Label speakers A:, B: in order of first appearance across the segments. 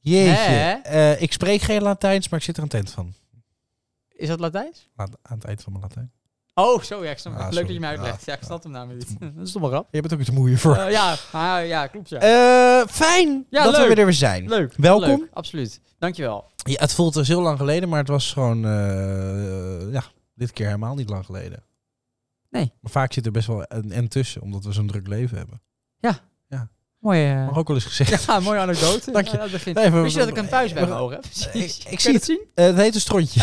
A: Jeetje.
B: Hè?
A: Eh, ik spreek geen Latijns, maar ik zit er een tent van.
B: Is dat Latijns?
A: Aan, aan het eind van mijn Latijn.
B: Oh, zo, ja, ik snap
A: Ah,
B: het. Leuk dat
A: sorry.
B: je mij uitlegt.
A: Ah,
B: Ja, ik
A: ah.
B: snap hem namelijk niet. dat is toch wel grap.
A: Je bent ook iets moeier voor.
B: Eh, ja, ah, ja, klopt ja.
A: Eh, fijn
B: Ja,
A: dat we
B: leuk.
A: weer er weer zijn.
B: leuk.
A: welkom.
B: Leuk, absoluut. Dankjewel.
A: Ja, het voelt dus heel lang geleden, maar het was gewoon... eh, ja, dit keer helemaal niet lang geleden.
B: Nee.
A: Maar vaak zit er best wel een en tussen, omdat we zo'n druk leven hebben.
B: Mooie...
A: Mag ook wel eens gezegd.
B: Ja, mooie anekdote.
A: Dank je.
B: Ja, dat begint.
A: Nee, we-
B: Wist je dat ik een thuis ben
A: we-
B: horen? Precies.
A: ik
B: Kun je
A: zie
B: dat zien.
A: Eh, het heet een strontje.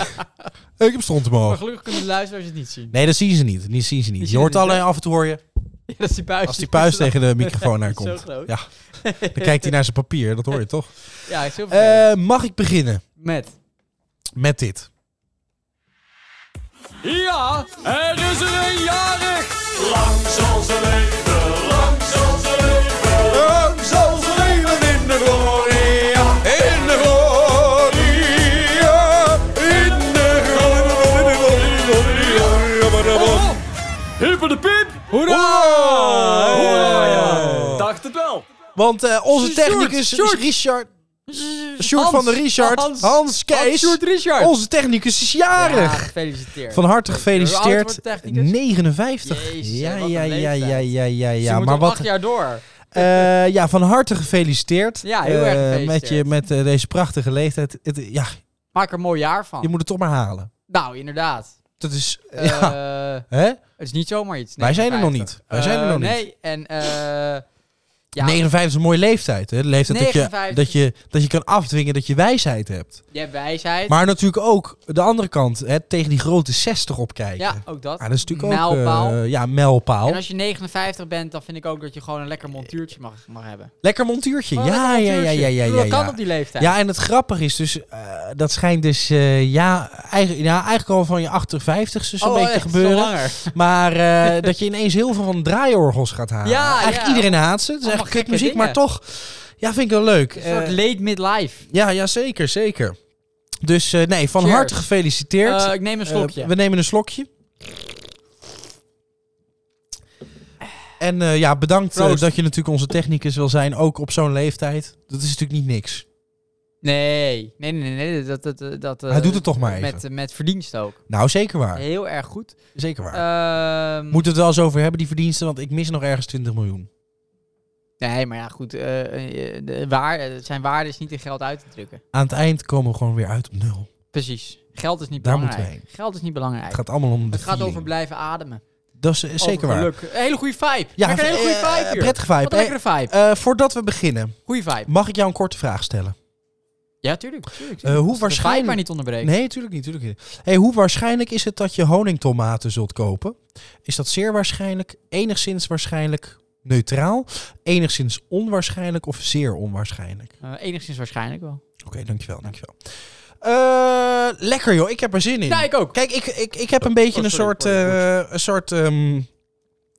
A: Eh, ik heb stront in mijn
B: Maar
A: oog.
B: gelukkig kunnen de luisteraars het niet zien.
A: Nee, dat zien ze niet. Die zien
B: Die
A: ze niet. Je
B: zien
A: hoort
B: ze niet,
A: alleen af en toe hoor je...
B: Ja, dat is die buis.
A: Als die puis tegen de microfoon
B: Zo
A: aankomt.
B: groot.
A: Ja. Dan kijkt hij naar zijn papier, dat hoor je toch?
B: Ja, ik zit
A: Eh, mag ik beginnen
B: Met.
A: met dit?
B: Ja, er is er een jarig.
C: Lang zal ze leven, lang zal ze leven. Lang zal ze leven in de gloria, in de gloria, in de gloria. Hippe de pip! Oh.
A: Hoera!
C: Dacht het wel.
A: Want eh, onze
B: Sjoerd,
A: technicus
B: Sjoerd.
A: is Richard. Sjoerd van de Richard. Hans, Kees.
B: Sjoerd Richard.
A: Onze technicus is
B: Ja,
A: jarig.
B: gefeliciteerd.
A: Van harte
B: Hoe oud wordt de
A: gefeliciteerd.
B: technicus?
A: 59.
B: Jezus,
A: ja,
B: wat een
A: ja, ja,
B: leeftijd.
A: ja, ja, ja,
B: Ja,
A: ja.
B: maar
A: Maar wat.
B: acht jaar door.
A: eh, ja, van harte gefeliciteerd.
B: Ja, heel erg
A: eh, Met, je,
B: gefeliciteerd.
A: met eh, deze prachtige leeftijd. Het, ja,
B: Maak er een mooi jaar van.
A: je moet het toch maar halen.
B: Nou, inderdaad.
A: Dat is.
B: Eh,
A: ja, hè?
B: Het is niet zomaar iets.
A: Wij zijn er nog
B: 59.
A: niet. Wij zijn er nog
B: Eh, Nee, en... eh ja,
A: 59 is een mooie leeftijd. Hè? De leeftijd dat je,
B: 59.
A: dat, je, dat je kan afdwingen dat je wijsheid hebt.
B: je hebt wijsheid.
A: Maar natuurlijk ook de andere kant, hè, tegen die grote 60 opkijken.
B: ja, ook dat.
A: Ja, dat is natuurlijk
B: Mijlpaal.
A: ook eh, ja, mijlpaal.
B: En als je 59 bent, dan vind ik ook dat je gewoon een lekker montuurtje mag, mag hebben.
A: Lekker montuurtje.
B: Gewoon een
A: ja,
B: Oh, lekker
A: ja, ja,
B: montuurtje.
A: ja, ja,
B: Ik bedoel,
A: ja,
B: Dat kan
A: ja.
B: op die leeftijd.
A: Ja, en het grappige is dus, eh, dat schijnt dus, eh, ja, eigenlijk, ja, eigenlijk al van je 58 ste zo'n
B: Oh,
A: beetje
B: echt,
A: te
B: zo
A: gebeuren.
B: langer.
A: Maar eh, dat je ineens heel veel van draaiorgels gaat halen.
B: Ja,
A: eigenlijk
B: ja.
A: iedereen haat ze. Het is
B: Allemaal
A: echt kut
B: gekke
A: muziek,
B: dingen.
A: maar toch, ja, vind ik wel leuk.
B: Een soort
A: Eh,
B: late midlife.
A: Ja, ja, zeker, zeker. Dus eh, nee, van
B: Cheers.
A: harte gefeliciteerd.
B: Eh, ik neem een slokje.
A: Eh, we nemen een slokje. En eh, ja, bedankt eh,
B: Proost.
A: dat je natuurlijk onze technicus wil zijn, ook op zo'n leeftijd. Dat is natuurlijk niet niks.
B: nee. nee, nee, nee, nee. Dat, dat, dat, dat, eh,
A: Hij doet het toch maar even.
B: Met, met verdienst ook.
A: Nou, zeker waar.
B: Heel erg goed.
A: Zeker waar.
B: Ehm,
A: Moeten we het wel eens over hebben, die verdiensten, want ik mis nog ergens 20 miljoen.
B: Nee, maar ja, goed. eh, eh, de waar, eh, zijn waarde is niet in geld uit te drukken.
A: Aan het eind komen we gewoon weer uit op nul.
B: Precies. Geld is niet
A: Daar
B: belangrijk.
A: moeten we
B: Geld is niet belangrijk.
A: Het gaat allemaal om de
B: Het gaat
A: feeling.
B: over blijven ademen.
A: Dat is eh, zeker
B: over
A: waar.
B: geluk. Een hele goede vibe.
A: Ja,
B: Ja, een hele goede
A: eh,
B: vibe hier.
A: prettige
B: Wat
A: vibe.
B: een lekkere vibe.
A: Eh, eh, voordat we beginnen,
B: Goeie vibe.
A: mag ik jou een korte vraag stellen?
B: Ja, tuurlijk. tuurlijk,
A: Eh,
B: tuurlijk.
A: hoe
B: De vibe
A: waarschijnlijk...
B: maar niet onderbreken.
A: Nee, tuurlijk niet. Tuurlijk niet. Hey, hoe waarschijnlijk is het dat je honingtomaten zult kopen? Is dat zeer waarschijnlijk, enigszins waarschijnlijk neutraal, enigszins onwaarschijnlijk of zeer onwaarschijnlijk?
B: Eh, enigszins waarschijnlijk wel.
A: Oké, dankjewel, dankjewel. Eh, lekker joh, ik heb er zin in.
B: Ja, ik ook.
A: Kijk, ik, ik, ik heb een beetje
C: Oh,
A: een
C: sorry,
A: soort,
C: sorry,
A: eh, een soort ehm,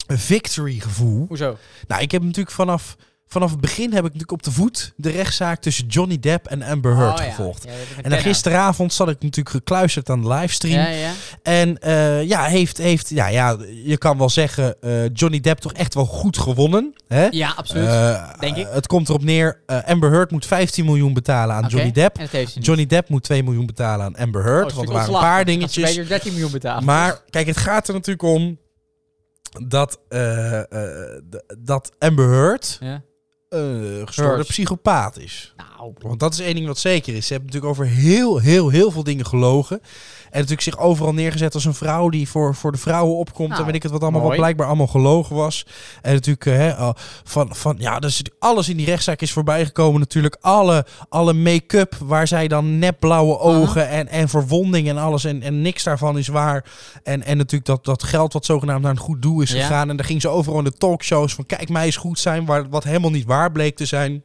A: victory gevoel.
B: Hoezo?
A: Nou, ik heb natuurlijk vanaf, vanaf het begin heb ik natuurlijk op de voet de rechtszaak tussen Johnny Depp en Amber Heard
B: Oh, ja.
A: gevolgd.
B: Ja, je bent een
A: En dan
B: kenner.
A: gisteravond zat ik natuurlijk gekluisterd aan de livestream.
B: Ja, ja.
A: En eh, ja, heeft, heeft ja, ja, je kan wel zeggen, eh, Johnny Depp toch echt wel goed gewonnen. Hè?
B: ja, absoluut.
A: Eh,
B: denk ik.
A: Het komt erop neer, eh, Amber Heard moet 15 miljoen betalen aan
B: Oké,
A: Johnny Depp.
B: En dat heeft ze niet.
A: Johnny Depp moet 2 miljoen betalen aan Amber Heard,
B: Oh,
A: want
B: natuurlijk
A: er waren
B: ontslag.
A: een paar
B: Gaat ze
A: dingetjes.
B: beter 13 miljoen betalen.
A: Maar kijk, het gaat er natuurlijk om dat, eh, eh, d- dat Amber Heard
B: Ja.
A: een gestoorde
B: Heard.
A: psychopaat is.
B: Nou,
A: Want dat is één ding wat zeker is. Ze hebben natuurlijk over heel, heel, heel veel dingen gelogen. En natuurlijk zich overal neergezet als een vrouw die voor, voor de vrouwen opkomt.
B: Nou,
A: en weet ik het wat allemaal, wat
B: mooi.
A: blijkbaar allemaal gelogen was. En natuurlijk, eh, hè, al- van, van, ja, dus alles in die rechtszaak is voorbijgekomen natuurlijk. Alle, alle make-up waar zij dan nepblauwe ogen en, en verwonding en alles. En, en niks daarvan is waar. En, en natuurlijk dat, dat geld wat zogenaamd naar een goed doel is
B: Ja.
A: gegaan. En daar ging ze overal in de talkshows van kijk mij eens goed zijn. Waar, wat helemaal niet waar bleek te zijn.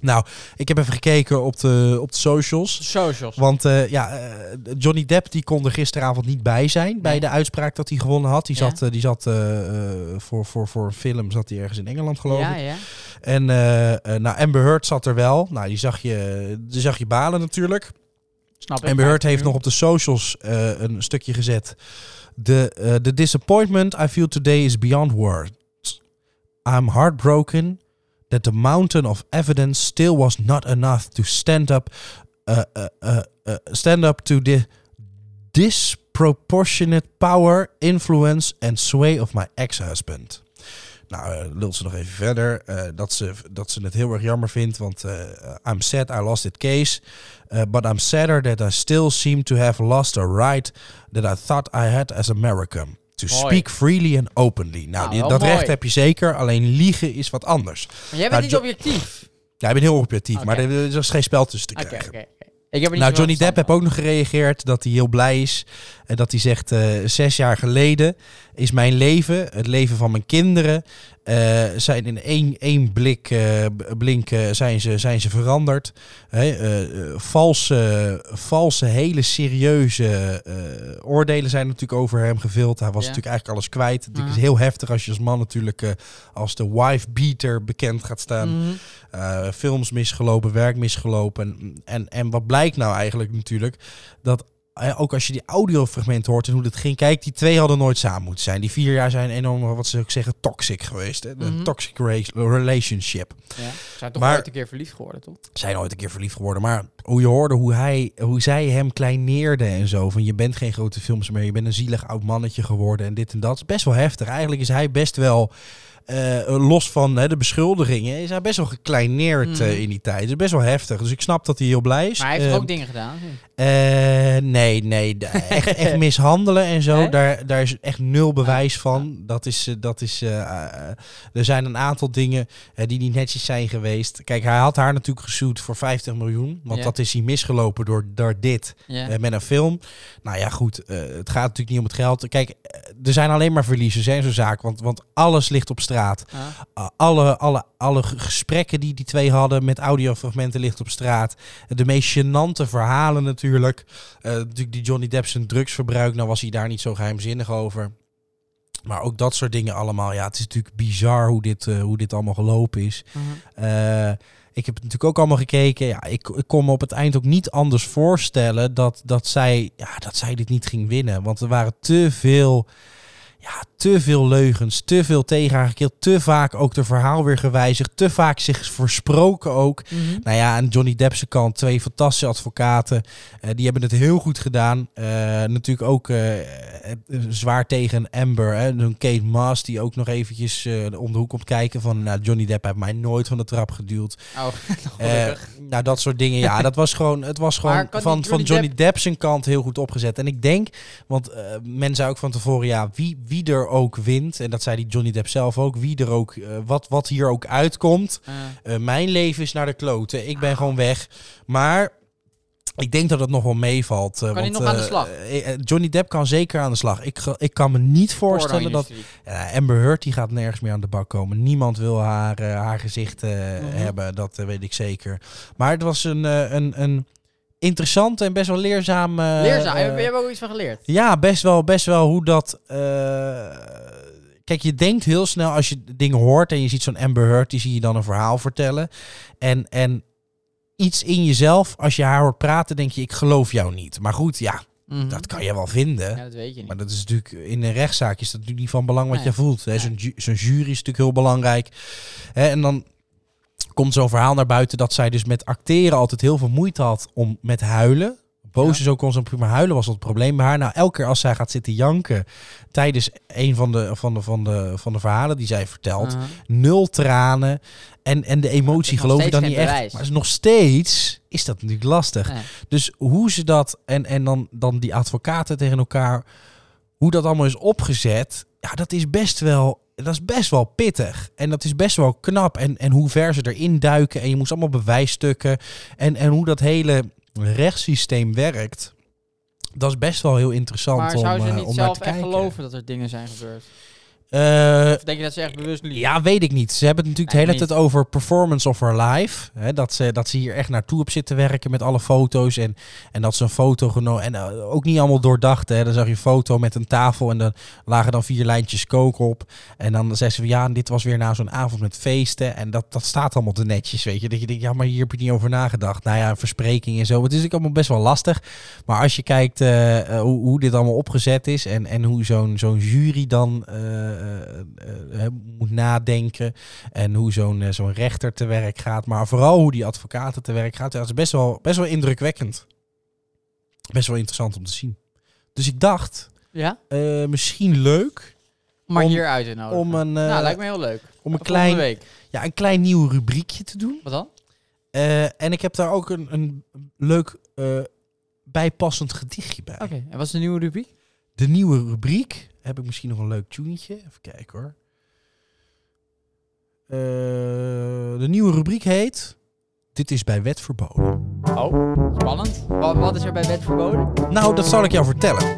A: Nou, ik heb even gekeken op de, op de socials.
B: socials.
A: Want eh, ja, eh, Johnny Depp die kon er gisteravond niet bij zijn bij
B: Nee.
A: de uitspraak dat hij gewonnen had. Die
B: Ja.
A: zat, eh, die zat eh, eh, voor, voor, voor een film zat hij ergens in Engeland geloof
B: ja,
A: ik.
B: ja.
A: En eh, eh, nou, Amber Heard zat er wel. Nou, die zag je, die zag je balen natuurlijk.
B: Snap ik.
A: Amber Heard
B: 15
A: heeft nog
B: miljoen.
A: op de socials eh, een stukje gezet. The, eh, the disappointment I feel today is beyond words. I'm heartbroken. that the mountain of evidence still was not enough to stand up, uh, uh, uh, uh, stand up to the disproportionate power, influence and sway of my ex-husband. Nou, eh, lult ze nog even verder. eh, dat, ze, dat ze het heel erg jammer vindt, want eh, I'm sad I lost this case. eh, but I'm sadder that I still seem to have lost a right that I thought I had as American. To
B: Mooi.
A: speak freely and openly. Nou,
B: Nou,
A: die-
B: wel
A: dat
B: mooi.
A: recht heb je zeker, alleen liegen is wat anders.
B: Maar jij bent
A: Nou,
B: niet
A: Jo-
B: objectief.
A: Ja, ik ben heel objectief,
B: Oké.
A: maar er er is geen spel tussen te
B: Oké,
A: krijgen.
B: oké. oké. Ik heb er niet
A: Nou,
B: zoveel
A: Johnny Depp
B: verstand
A: heeft ook nog gereageerd dat hij heel blij is. En dat hij zegt, eh, zes jaar geleden is mijn leven, het leven van mijn kinderen, eh, zijn in één, één blik, eh, b- blink eh, zijn, ze, zijn ze veranderd. Hè, eh, eh, valse, valse, hele serieuze eh, oordelen zijn natuurlijk over hem gevuld. Hij was
B: Ja.
A: natuurlijk eigenlijk alles kwijt. Het is
B: Mhm.
A: heel heftig als je als man natuurlijk eh, als de wife beater bekend gaat staan.
B: van. Mhm.
A: Eh, films misgelopen, werk misgelopen. En, en, en wat blijkt nou eigenlijk natuurlijk? Dat eh, ook als je die audiofragmenten hoort en hoe dat ging, kijk, die twee hadden nooit samen moeten zijn. Die vier jaar zijn enorm, wat ze ook zeggen, toxic geweest. Hè? Een
B: Mhm.
A: toxic ra- relationship.
B: Ja. Ze zijn toch
A: Maar-
B: ooit een keer verliefd geworden, toch?
A: Zijn ooit een keer verliefd geworden, maar hoe je hoorde hoe, hij, hoe zij hem kleineerde en zo. Van je bent geen grote films meer, je bent een zielig oud mannetje geworden en dit en dat. Is Best wel heftig. Eigenlijk is hij best wel, eh, los van hè, de beschuldigingen, is hij best wel gekleineerd
B: Mm.
A: eh, in die tijd. Het is best wel heftig. Dus ik snap dat hij heel blij is.
B: Maar hij heeft
A: Eh,
B: ook dingen gedaan.
A: eh, nee, nee. d- Echt, echt mishandelen en zo.
B: Hè? Ah.
A: Daar, daar is echt nul bewijs van. Dat is, eh, dat is, eh, eh, er zijn een aantal dingen eh, die niet netjes zijn geweest. Kijk, hij had haar natuurlijk gesuwd voor 50 miljoen. Want
B: Ja.
A: dat is hij misgelopen door, door dit.
B: Ja.
A: eh, met een film. Nou ja, goed. eh, het gaat natuurlijk niet om het geld. Kijk, eh, er zijn alleen maar verliezers hè, in zo'n zaak. Want, want alles ligt op straat.
B: Ah.
A: Uh, alle, alle, alle g- gesprekken die die twee hadden met audiofragmenten ligt op straat. De meest gênante verhalen natuurlijk. Eh, natuurlijk die Johnny Depp zijn drugsverbruik, nou was hij daar niet zo geheimzinnig over. Maar ook dat soort dingen allemaal. Ja, het is natuurlijk bizar hoe dit, eh, hoe dit allemaal gelopen is.
B: Mhm.
A: Eh, ik heb het natuurlijk ook allemaal gekeken. Ja, ik, ik kon me op het eind ook niet anders voorstellen dat, dat, zij, ja, dat zij dit niet ging winnen. Want er waren te veel, ja, te veel leugens, te veel tegen haar gekeerd. Te vaak ook de verhaal weer gewijzigd. Te vaak zich versproken ook.
B: Mhm.
A: Nou ja, aan Johnny Depp's kant twee fantastische advocaten. Eh, die hebben het heel goed gedaan. Eh, natuurlijk ook eh, eh, zwaar tegen Amber. Hè. Zo'n Kate Maas die ook nog eventjes eh, om de hoek komt kijken van... Nou, Johnny Depp heeft mij nooit van de trap geduwd.
B: Oh,
A: Eh,
B: gelukkig.
A: nou, dat soort dingen. Ja, dat was gewoon, het was
B: Maar
A: gewoon
B: kan
A: van,
B: niet
A: van
B: Johnny
A: Johnny Depp zijn kant heel goed opgezet. En ik denk, want eh, men zei ook van tevoren, ja, wie, wie er ook wint, en dat zei die Johnny Depp zelf ook, wie er ook, eh, wat, wat hier ook uitkomt,
B: Eh,
A: eh, mijn leven is naar de kloten. Ik ben gewoon weg. Maar ik denk dat het nog wel meevalt. eh,
B: Kan hij
A: want,
B: nog aan de
A: eh,
B: slag?
A: eh, eh, Johnny Depp kan zeker aan de slag. Ik, ge- ik kan me niet voorstellen dat...
B: porno-industrie.
A: Ja, Amber Heard die gaat nergens meer aan de bak komen. Niemand wil haar, eh, haar gezicht eh,
B: Mhm.
A: hebben. Dat eh, weet ik zeker. Maar het was een, eh, een, een interessante en best wel leerzame... eh,
B: Leerzaam.
A: eh,
B: Heb ah, je hebt ook iets van geleerd?
A: ja, best wel, best wel hoe dat. eh, Kijk, je denkt heel snel als je dingen hoort en je ziet zo'n Amber Heard, die zie je dan een verhaal vertellen. En, en iets in jezelf, als je haar hoort praten, denk je, ik geloof jou niet. Maar goed, ja,
B: Mhm.
A: dat kan je wel vinden.
B: Ja, dat weet je niet.
A: Maar dat is natuurlijk in een rechtszaak is dat natuurlijk niet van belang wat
B: Nee.
A: je voelt. hè.
B: Nee.
A: Zo'n ju- zo'n jury is natuurlijk heel belangrijk. Hè, en dan komt zo'n verhaal naar buiten dat zij dus met acteren altijd heel veel moeite had om met huilen. Boos
B: Ja.
A: is ook constant, maar huilen was het probleem bij haar. Nou, elke keer als zij gaat zitten janken tijdens een van de, van de, van de, van de verhalen die zij vertelt,
B: Mhm.
A: nul tranen. En, en de emotie
B: nog
A: geloof ik
B: steeds
A: dan
B: geen
A: niet echt.
B: bewijs.
A: Maar is nog steeds is dat natuurlijk lastig.
B: Nee.
A: Dus hoe ze dat en, en dan, dan die advocaten tegen elkaar, hoe dat allemaal is opgezet, ja, dat is best wel. Dat is best wel pittig. En dat is best wel knap. En, en hoe ver ze erin duiken. En je moest allemaal bewijsstukken. En, en hoe dat hele rechtssysteem werkt. Dat is best wel heel interessant
B: Maar
A: om,
B: zou ze
A: eh,
B: niet
A: om naar
B: zelf
A: te
B: echt
A: kijken.
B: geloven dat er dingen zijn gebeurd?
A: Eh,
B: Of denk je dat ze echt bewust liegen?
A: ja, weet ik niet. Ze hebben het natuurlijk
B: Nee,
A: de hele
B: niet.
A: tijd over performance of her life. Hè, dat, ze, dat ze hier echt naartoe op zitten werken met alle foto's. En, en dat ze een foto genomen... En eh, ook niet allemaal doordacht. Hè. Dan zag je een foto met een tafel en dan lagen dan vier lijntjes kook op. En dan zei ze van ja, en dit was weer na zo'n avond met feesten. En dat, dat staat allemaal te netjes, weet je. Dat je denkt, ja, maar hier heb je niet over nagedacht. Nou ja, verspreking en zo. Het is ook allemaal best wel lastig. Maar als je kijkt eh, eh, hoe, hoe dit allemaal opgezet is en, en hoe zo'n zo'n jury dan eh, eh, eh, eh, moet nadenken. En hoe zo'n eh, zo'n rechter te werk gaat. Maar vooral hoe die advocaten te werk gaat. Ja, dat is best wel, best wel indrukwekkend. Best wel interessant om te zien. Dus ik dacht,
B: Ja?
A: eh, misschien leuk
B: Maar
A: Om-
B: hier uit te nodigen.
A: om een, eh,
B: nou, lijkt me heel leuk.
A: om een,
B: Volgende
A: klein,
B: week.
A: ja, een klein nieuw rubriekje te doen.
B: Wat dan?
A: Eh, en ik heb daar ook een, een leuk eh, bijpassend gedichtje bij.
B: Oké, en wat is de nieuwe rubriek?
A: De nieuwe rubriek. Heb ik misschien nog een leuk tunetje? Even kijken hoor. Eh, de nieuwe rubriek heet... Dit is bij wet verboden.
B: Oh, spannend. Wat, wat is er bij wet verboden?
A: Nou, dat zal ik jou vertellen.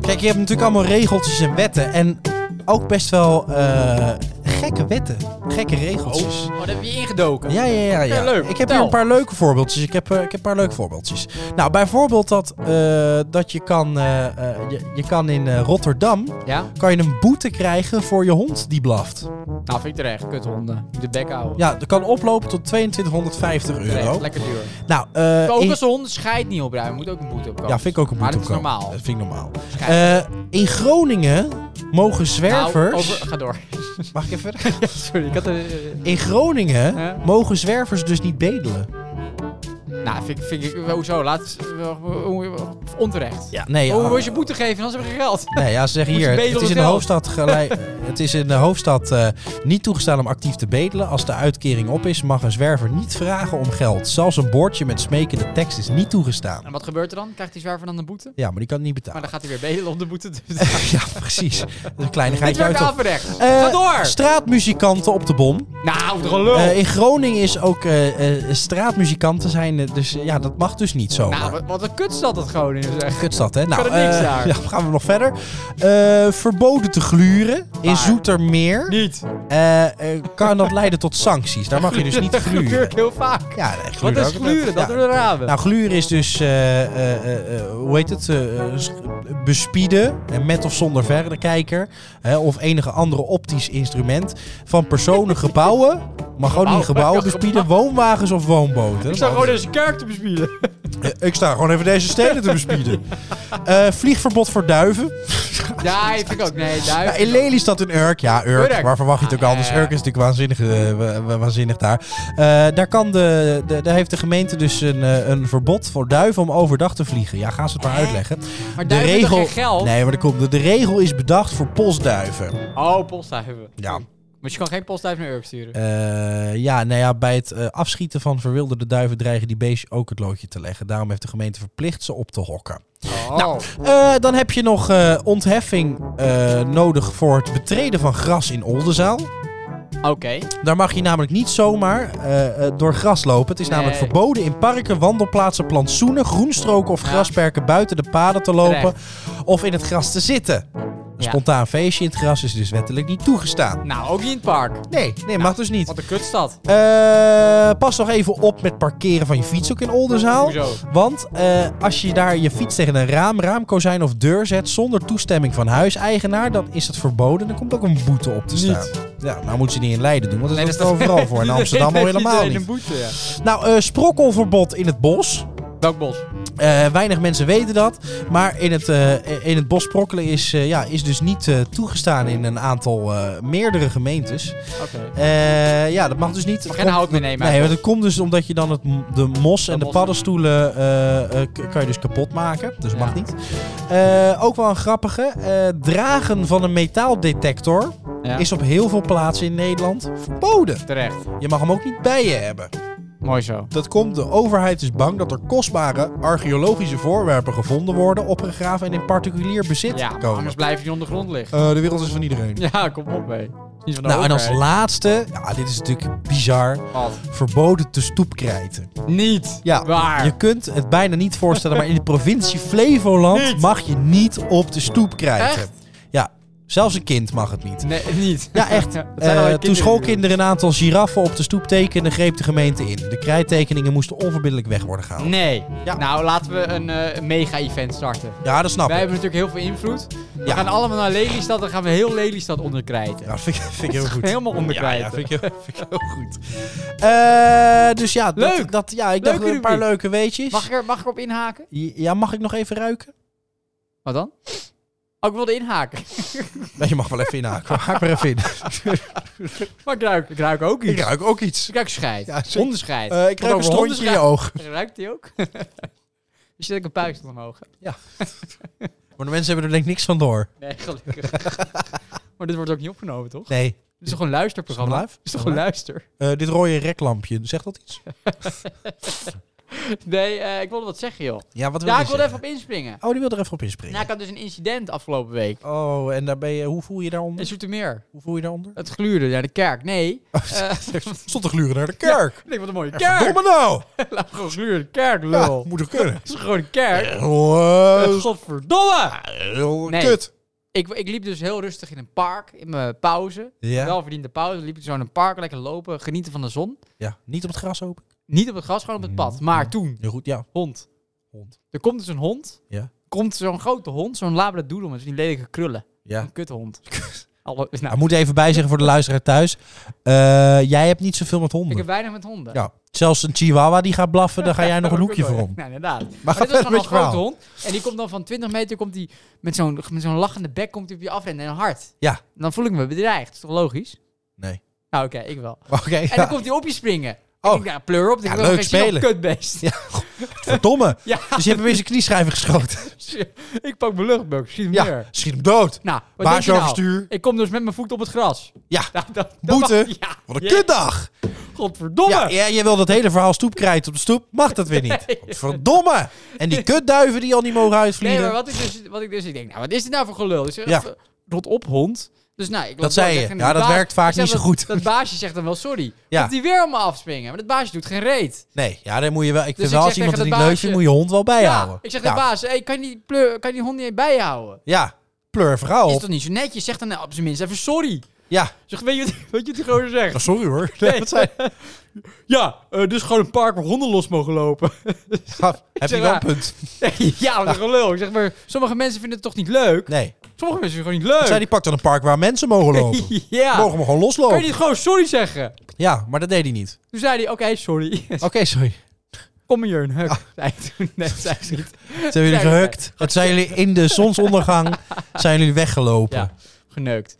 A: Kijk, je hebt natuurlijk allemaal regeltjes en wetten. En ook best wel eh, gekke wetten. Gekke regeltjes.
B: Oh, daar heb je ingedoken.
A: Ja, ja, ja. ja.
B: Ja, leuk.
A: Ik heb hier
B: Vertel.
A: een paar leuke voorbeeldjes. Ik heb, eh, ik heb een paar leuke voorbeeldjes. Nou, bijvoorbeeld dat, eh, dat je kan, eh, eh, je, je kan in eh, Rotterdam
B: Ja?
A: kan je een boete krijgen voor je hond die blaft.
B: Nou, vind ik terecht. Kuthonden. Moet De bek houden.
A: Ja, dat kan oplopen tot 2250
B: Terecht.
A: euro.
B: Lekker duur.
A: Nou, eh,
B: Ook
A: in-
B: als de honden scheidt niet opruimen, moet ook een boete opkomen.
A: ja, vind ik ook een boete
B: Maar dat is
A: opkomen.
B: normaal.
A: Dat vind ik normaal.
B: Scheidt.
A: Eh, in Groningen mogen
B: Nou,
A: zwervers...
B: over- ga door.
A: Mag ik even verder?
B: Sorry, ik had eh, er...
A: In Groningen
B: Hè?
A: mogen zwervers dus niet bedelen.
B: Nou, vind, ik- vind ik... Hoezo? Laat... eh, Onterecht.
A: Ja, nee.
B: Hoe
A: ah,
B: wil Oh, je boete geven? Anders heb je geen geld.
A: Nee, ja, ze zeggen
B: Moet je
A: hier, het,
B: bedelen
A: het is in de
B: zelf?
A: hoofdstad, gelijk, het is in de hoofdstad eh, niet toegestaan om actief te bedelen. Als de uitkering op is, mag een zwerver niet vragen om geld. Zelfs een bordje met smekende tekst is niet toegestaan.
B: En wat gebeurt er dan? Krijgt die zwerver dan een boete?
A: Ja, maar die kan het niet
B: Maar
A: betalen.
B: dan gaat hij weer bedelen om de boete te betalen.
A: ja, precies. Een
B: Dit
A: kleinigheidje
B: werkt
A: uit.
B: aan
A: op-
B: verrecht.
A: Eh,
B: Ga door!
A: Straatmuzikanten op de bom.
B: nou, de gelul.
A: Eh, in Groningen is ook eh, eh, straatmuzikanten zijn, eh, dus eh, ja, dat mag dus niet zo.
B: nou, wat, wat een kutstad dat Groningen zeg.
A: Kutstad, hè? Nou,
B: Kan er niks
A: eh,
B: daar.
A: ja, gaan we nog verder. Eh, verboden te gluren in
B: Waar?
A: Zoetermeer.
B: Niet.
A: Eh, eh, kan dat leiden tot sancties. Daar mag je dus niet
B: Dat gebeurt
A: gluren.
B: heel vaak.
A: Ja, nee, gluren
B: Wat is
A: ook net.
B: gluren? Dat
A: Ja.
B: door de ramen.
A: Nou, gluren is dus, eh, eh, eh, eh, hoe heet het, Eh, eh, s- bespieden, en met of zonder verrekijker, hè, of enige andere optisch instrument, van personen, gebouwen, mag ook niet gebouwen bespieden, woonwagens of woonboten.
B: ik zou gewoon deze kerk te bespieden.
A: Eh, ik sta gewoon even deze steden te bespieden. Eh, vliegverbod voor duiven.
B: Ja, nee, vind ik ook. Nee,
A: Ja,
B: duif.
A: in Lelystad in Urk. Ja, Urk.
B: Urk.
A: Waar verwacht je het ook
B: Ah,
A: anders?
B: ja, ja.
A: Urk is natuurlijk waanzinnig, eh, wa- wa- waanzinnig daar. Eh, daar, kan de, de, daar heeft de gemeente dus een, eh, een verbod voor duiven om overdag te vliegen. Ja, gaan ze het maar uitleggen.
B: maar
A: De
B: duiven
A: regel,
B: hebben geen geld.
A: nee, maar dat komt, de, de regel is bedacht voor postduiven.
B: Oh, postduiven.
A: Ja,
B: Maar je kan geen postduif naar Urk sturen.
A: Eh, ja, nou ja, bij het eh, afschieten van verwilderde duiven dreigen die beestjes ook het loodje te leggen. Daarom heeft de gemeente verplicht ze op te hokken.
B: Oh.
A: Eh, dan heb je nog eh, ontheffing eh, nodig voor het betreden van gras in Oldenzaal.
B: Oké.
A: Eh. Daar mag je namelijk niet zomaar eh, eh, door gras lopen. Het is
B: Nee.
A: namelijk verboden in parken, wandelplaatsen, plantsoenen, groenstroken of
B: Ja.
A: grasperken buiten de paden te lopen of in het gras te zitten. Een
B: Ja.
A: spontaan feestje in het gras is dus wettelijk niet toegestaan.
B: Nou, ook niet in het park.
A: Nee, nee, mag dus niet.
B: Wat een kutstad.
A: Eh, pas nog even op met parkeren van je fiets ook in Oldenzaal.
B: Hoezo?
A: Want eh, als je daar je fiets tegen een raam, raamkozijn of deur zet zonder toestemming van huiseigenaar, dan is dat verboden. Er komt ook een boete op te
B: Niet.
A: staan. Ja, nou moet ze niet in Leiden doen, want dat
B: Nee,
A: is er overal voor. In Amsterdam al
B: Iedereen
A: helemaal
B: heeft
A: niet.
B: een boete, ja.
A: Nou, eh, sprokkelverbod in het bos.
B: Welk bos?
A: Eh, weinig mensen weten dat. Maar in het, eh, in het bos sprokkelen is, eh, ja, is dus niet eh, toegestaan in een aantal eh, meerdere gemeentes.
B: Oké.
A: Eh, ja, dat mag dus niet.
B: Mag nou geen hout meer nemen.
A: Nee, want dat komt dus omdat je dan het, m- de mos en
B: Dat
A: de
B: mos-
A: paddenstoelen eh, eh, k- kan je dus kapot maken. Dus
B: Ja.
A: mag niet. Eh, ook wel een grappige. eh, dragen van een metaaldetector
B: Ja.
A: is op heel veel plaatsen in Nederland verboden.
B: Terecht.
A: Je mag hem ook niet bij je hebben.
B: Mooi zo.
A: Dat komt, de overheid is bang dat er kostbare archeologische voorwerpen gevonden worden, opgegraven en in particulier bezit
B: Ja, maar
A: komen.
B: anders blijf je onder de grond liggen.
A: Eh, de wereld is van iedereen.
B: Ja, kom op, hé. Niet van de
A: Nou, en als
B: overheid.
A: laatste, ja, dit is natuurlijk bizar,
B: Wat?
A: verboden te stoepkrijten.
B: Niet.
A: Ja,
B: Waar?
A: je kunt het bijna niet voorstellen, maar in de provincie Flevoland
B: Niet.
A: mag je niet op de stoep krijgen.
B: Echt?
A: Ja, zelfs een kind mag het niet.
B: Nee, niet.
A: Ja, echt.
B: Dat zijn wel
A: Eh, toen
B: kinderen.
A: schoolkinderen een aantal giraffen op de stoep tekenden, greep de gemeente in. De krijttekeningen moesten onverbiddelijk weg worden gehaald.
B: Nee.
A: Ja.
B: Nou, laten we een eh, mega-event starten.
A: Ja, dat snap
B: Wij
A: ik.
B: hebben natuurlijk heel veel invloed. We
A: Ja.
B: gaan allemaal naar Lelystad, dan gaan we heel Lelystad onderkrijten.
A: Ja, vind ik, vind ik heel
B: Gaan we
A: goed.
B: Helemaal
A: Ja,
B: onderkrijten.
A: ja, vind ik heel, vind ik heel goed. Eh, dus ja, dat,
B: Leuk.
A: Dat, ja ik dacht
B: Leuke
A: een paar
B: rubriek.
A: leuke weetjes.
B: Mag ik, er, mag ik erop inhaken?
A: Ja, mag ik nog even ruiken?
B: Wat dan? Oh, ik wilde inhaken.
A: Nee, je mag wel even inhaken. Haak maar even in.
B: Maar ik ruik, ik ruik ook iets. Dus
A: ik ruik ook iets.
B: Ik ruik scheid.
A: Ja, zeker.
B: hondenscheid.
A: Eh, ik
B: Want
A: ruik een
B: over
A: stondje in je
B: hondenscheid-
A: oog.
B: Ruikt die ook? Dus zit ik een puist omhoog.
A: Maar de mensen hebben er denk ik niks van door.
B: Nee, gelukkig. maar dit wordt ook niet opgenomen, toch?
A: Nee.
B: Dit is toch een luisterprogramma?
A: Is het live?
B: Dit is toch een luister?
A: Eh, dit rode reklampje, zegt dat iets?
B: Nee, eh, ik wilde wat zeggen, joh.
A: Ja, wat wil
B: Ja,
A: je
B: ik wilde even
A: zeggen?
B: op inspringen.
A: Oh, die wil er even op inspringen.
B: Nou, ik had dus een incident afgelopen week.
A: Oh, en daar ben je, hoe voel je
B: In
A: je daaronder?
B: Zoetermeer.
A: Hoe voel je je daaronder?
B: Het gluurde naar de kerk. Nee. Eh,
A: Stond te gluren naar de kerk.
B: ik denk, wat een mooie
A: Ja.
B: kerk.
A: Verdomme nou!
B: Laat gewoon gluren naar de kerk,
A: Ja,
B: lul.
A: moet er kunnen.
B: Het is gewoon een kerk.
A: Wow.
B: Godverdomme! Nee.
A: Kut.
B: Ik, ik liep dus heel rustig in een park, in mijn pauze.
A: Ja.
B: Welverdiende pauze. Liep ik zo in een park, lekker lopen, genieten van de zon.
A: ja, niet op het gras open.
B: Niet op het gras, gewoon op het
A: Mhm.
B: pad. Maar toen,
A: Heel goed, ja.
B: hond.
A: Hond.
B: Er komt dus een hond.
A: Ja.
B: Komt zo'n grote hond, zo'n labradoodle met die lelijke krullen.
A: ja.
B: Een kuthond. Alle,
A: Nou,
B: nou,
A: moet even bijzeggen voor de luisteraar thuis. Eh, jij hebt niet zoveel met
B: ik
A: honden.
B: heb weinig met honden.
A: Ja, zelfs een chihuahua die gaat blaffen, daar ga jij nog een hoekje voor om.
B: Nou, inderdaad. Maar,
A: Maar ga
B: dit was
A: verder
B: gewoon
A: met
B: een
A: je
B: grote
A: verhaal.
B: hond. En die komt dan van 20 meter komt die met zo'n met zo'n lachende bek komt die op je afrennen en hard.
A: Ja.
B: En dan voel ik me bedreigd. Is toch logisch?
A: Nee.
B: Nou, oké, ik wel.
A: Oké,
B: En dan
A: ja.
B: komt hij op je springen.
A: Oh.
B: Oh. Ik denk, nou, pleur op.
A: Ja,
B: Ik wil
A: leuk
B: geen zin op,
A: spelen.
B: Kutbeest.
A: Ja. verdomme.
B: Ja.
A: Dus je hebt hem in zijn knieschijven geschoten.
B: ik pak mijn luchtbuk. Schiet hem
A: Ja,
B: neer.
A: schiet hem dood.
B: Nou, wat denk je
A: Baasje
B: nou?
A: overstuur.
B: Ik kom dus met mijn voet op het gras.
A: Ja.
B: Nou, dat- dat
A: Boete.
B: mag- ja.
A: Wat een
B: Jee,
A: kutdag.
B: Godverdomme.
A: Ja, ja, je wil dat hele verhaal stoepkrijt op de stoep. Mag dat weer niet. Verdomme. En die kutduiven die al niet mogen
B: nee,
A: uitvliegen.
B: maar wat ik dus, wat ik dus, ik denk, nou, wat is dit nou voor gelul? Ik zeg,
A: Ja.
B: eh, rot op, hond. Dus nou, ik loop
A: Dat
B: door,
A: zei
B: ik
A: je.
B: zeg,
A: Ja,
B: die
A: dat
B: baas-
A: werkt vaak
B: ik zeg,
A: niet zo
B: dat-
A: goed.
B: Dat baasje zegt dan wel sorry.
A: Ja.
B: Komt die weer om me afspringen. Maar dat baasje doet geen reet.
A: Nee, ja, dan moet je wel. Ik vind
B: Dus ik
A: wel,
B: zeg
A: als iemand het
B: tegen dat
A: niet leuk
B: baasje-
A: vindt, moet je hond wel bijhouden.
B: Ja, ik zeg
A: ja,
B: de baas, hey, kan, je die pleur, kan je die hond niet bijhouden?
A: Ja, pleur verhaal
B: Is
A: op.
B: toch niet zo netjes? Zeg dan nou, op zijn minst even sorry.
A: Ja.
B: Zeg, weet je wat- wat je die gozer
A: Ja,
B: zegt?
A: Sorry hoor. Nee, wat zei
B: Ja, eh, dus gewoon een park waar honden los mogen lopen.
A: Ja, Heb je
B: zeg
A: wel een
B: maar-
A: punt?
B: ja, wat een
A: Nou.
B: gelul. Ik zeg maar, sommige mensen vinden het toch niet leuk?
A: Nee.
B: Sommige mensen vinden het gewoon niet
A: Zij
B: leuk.
A: die pakt dan een park waar mensen mogen lopen.
B: ja.
A: Mogen we gewoon
B: Kan je
A: loslopen.
B: niet gewoon sorry zeggen?
A: Ja, maar dat deed hij niet.
B: Toen zei hij, oké, sorry.
A: Oké, sorry.
B: Kom hier een
A: Ah.
B: huk. Zei hij toen. Nee, zei ze niet.
A: Ze hebben jullie
B: Zijn we-
A: gehukt. Het zijn jullie in de zonsondergang zijn jullie weggelopen.
B: Ja,
A: Ja.
B: geneukt.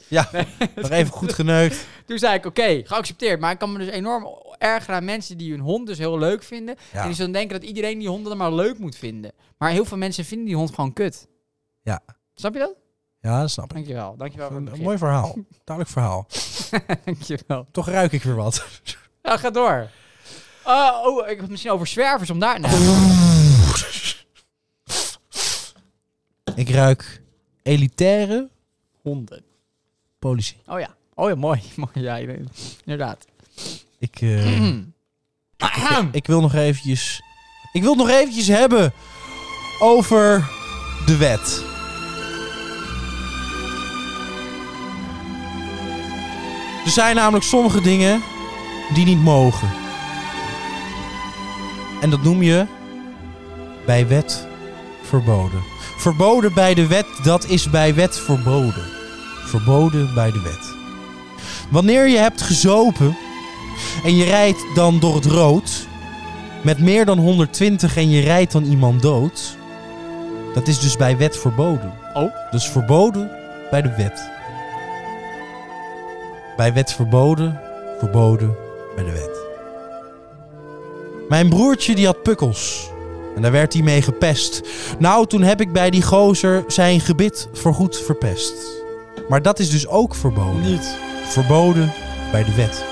A: Nog even goed geneukt.
B: Toen zei ik, oké, geaccepteerd. Maar ik kan me dus enorm ergeren aan mensen die hun hond dus heel leuk vinden.
A: Ja.
B: En die zullen denken dat iedereen die hond dan maar leuk moet vinden. Maar heel veel mensen vinden die hond gewoon kut.
A: Ja.
B: Snap je dat?
A: Ja, dat snap ik.
B: Dankjewel. Dankjewel voor het
A: Een, een
B: begrip.
A: mooi verhaal. Duidelijk verhaal.
B: Dankjewel.
A: Toch ruik ik weer wat.
B: Nou, ga door. Eh, oh, ik had misschien over zwervers om daar... Nee.
A: Ik ruik elitaire
B: Honden.
A: politie.
B: Oh ja. Oh ja, mooi. mooi ja, inderdaad.
A: Ik, eh, ik wil nog eventjes... Ik wil het nog eventjes hebben over de wet. Er zijn namelijk sommige dingen die niet mogen. En dat noem je bij wet verboden. Verboden bij de wet, dat is bij wet verboden. Verboden bij de wet. Wanneer je hebt gezopen en je rijdt dan door het rood met meer dan 120 en je rijdt dan iemand dood, dat is dus bij wet verboden.
B: Oh.
A: Dus verboden bij de wet. Bij wet verboden, verboden bij de wet. Mijn broertje die had pukkels. En daar werd hij mee gepest. Nou, toen heb ik bij die gozer zijn gebit voorgoed verpest. Maar dat is dus ook verboden.
B: Niet.
A: Verboden bij de wet.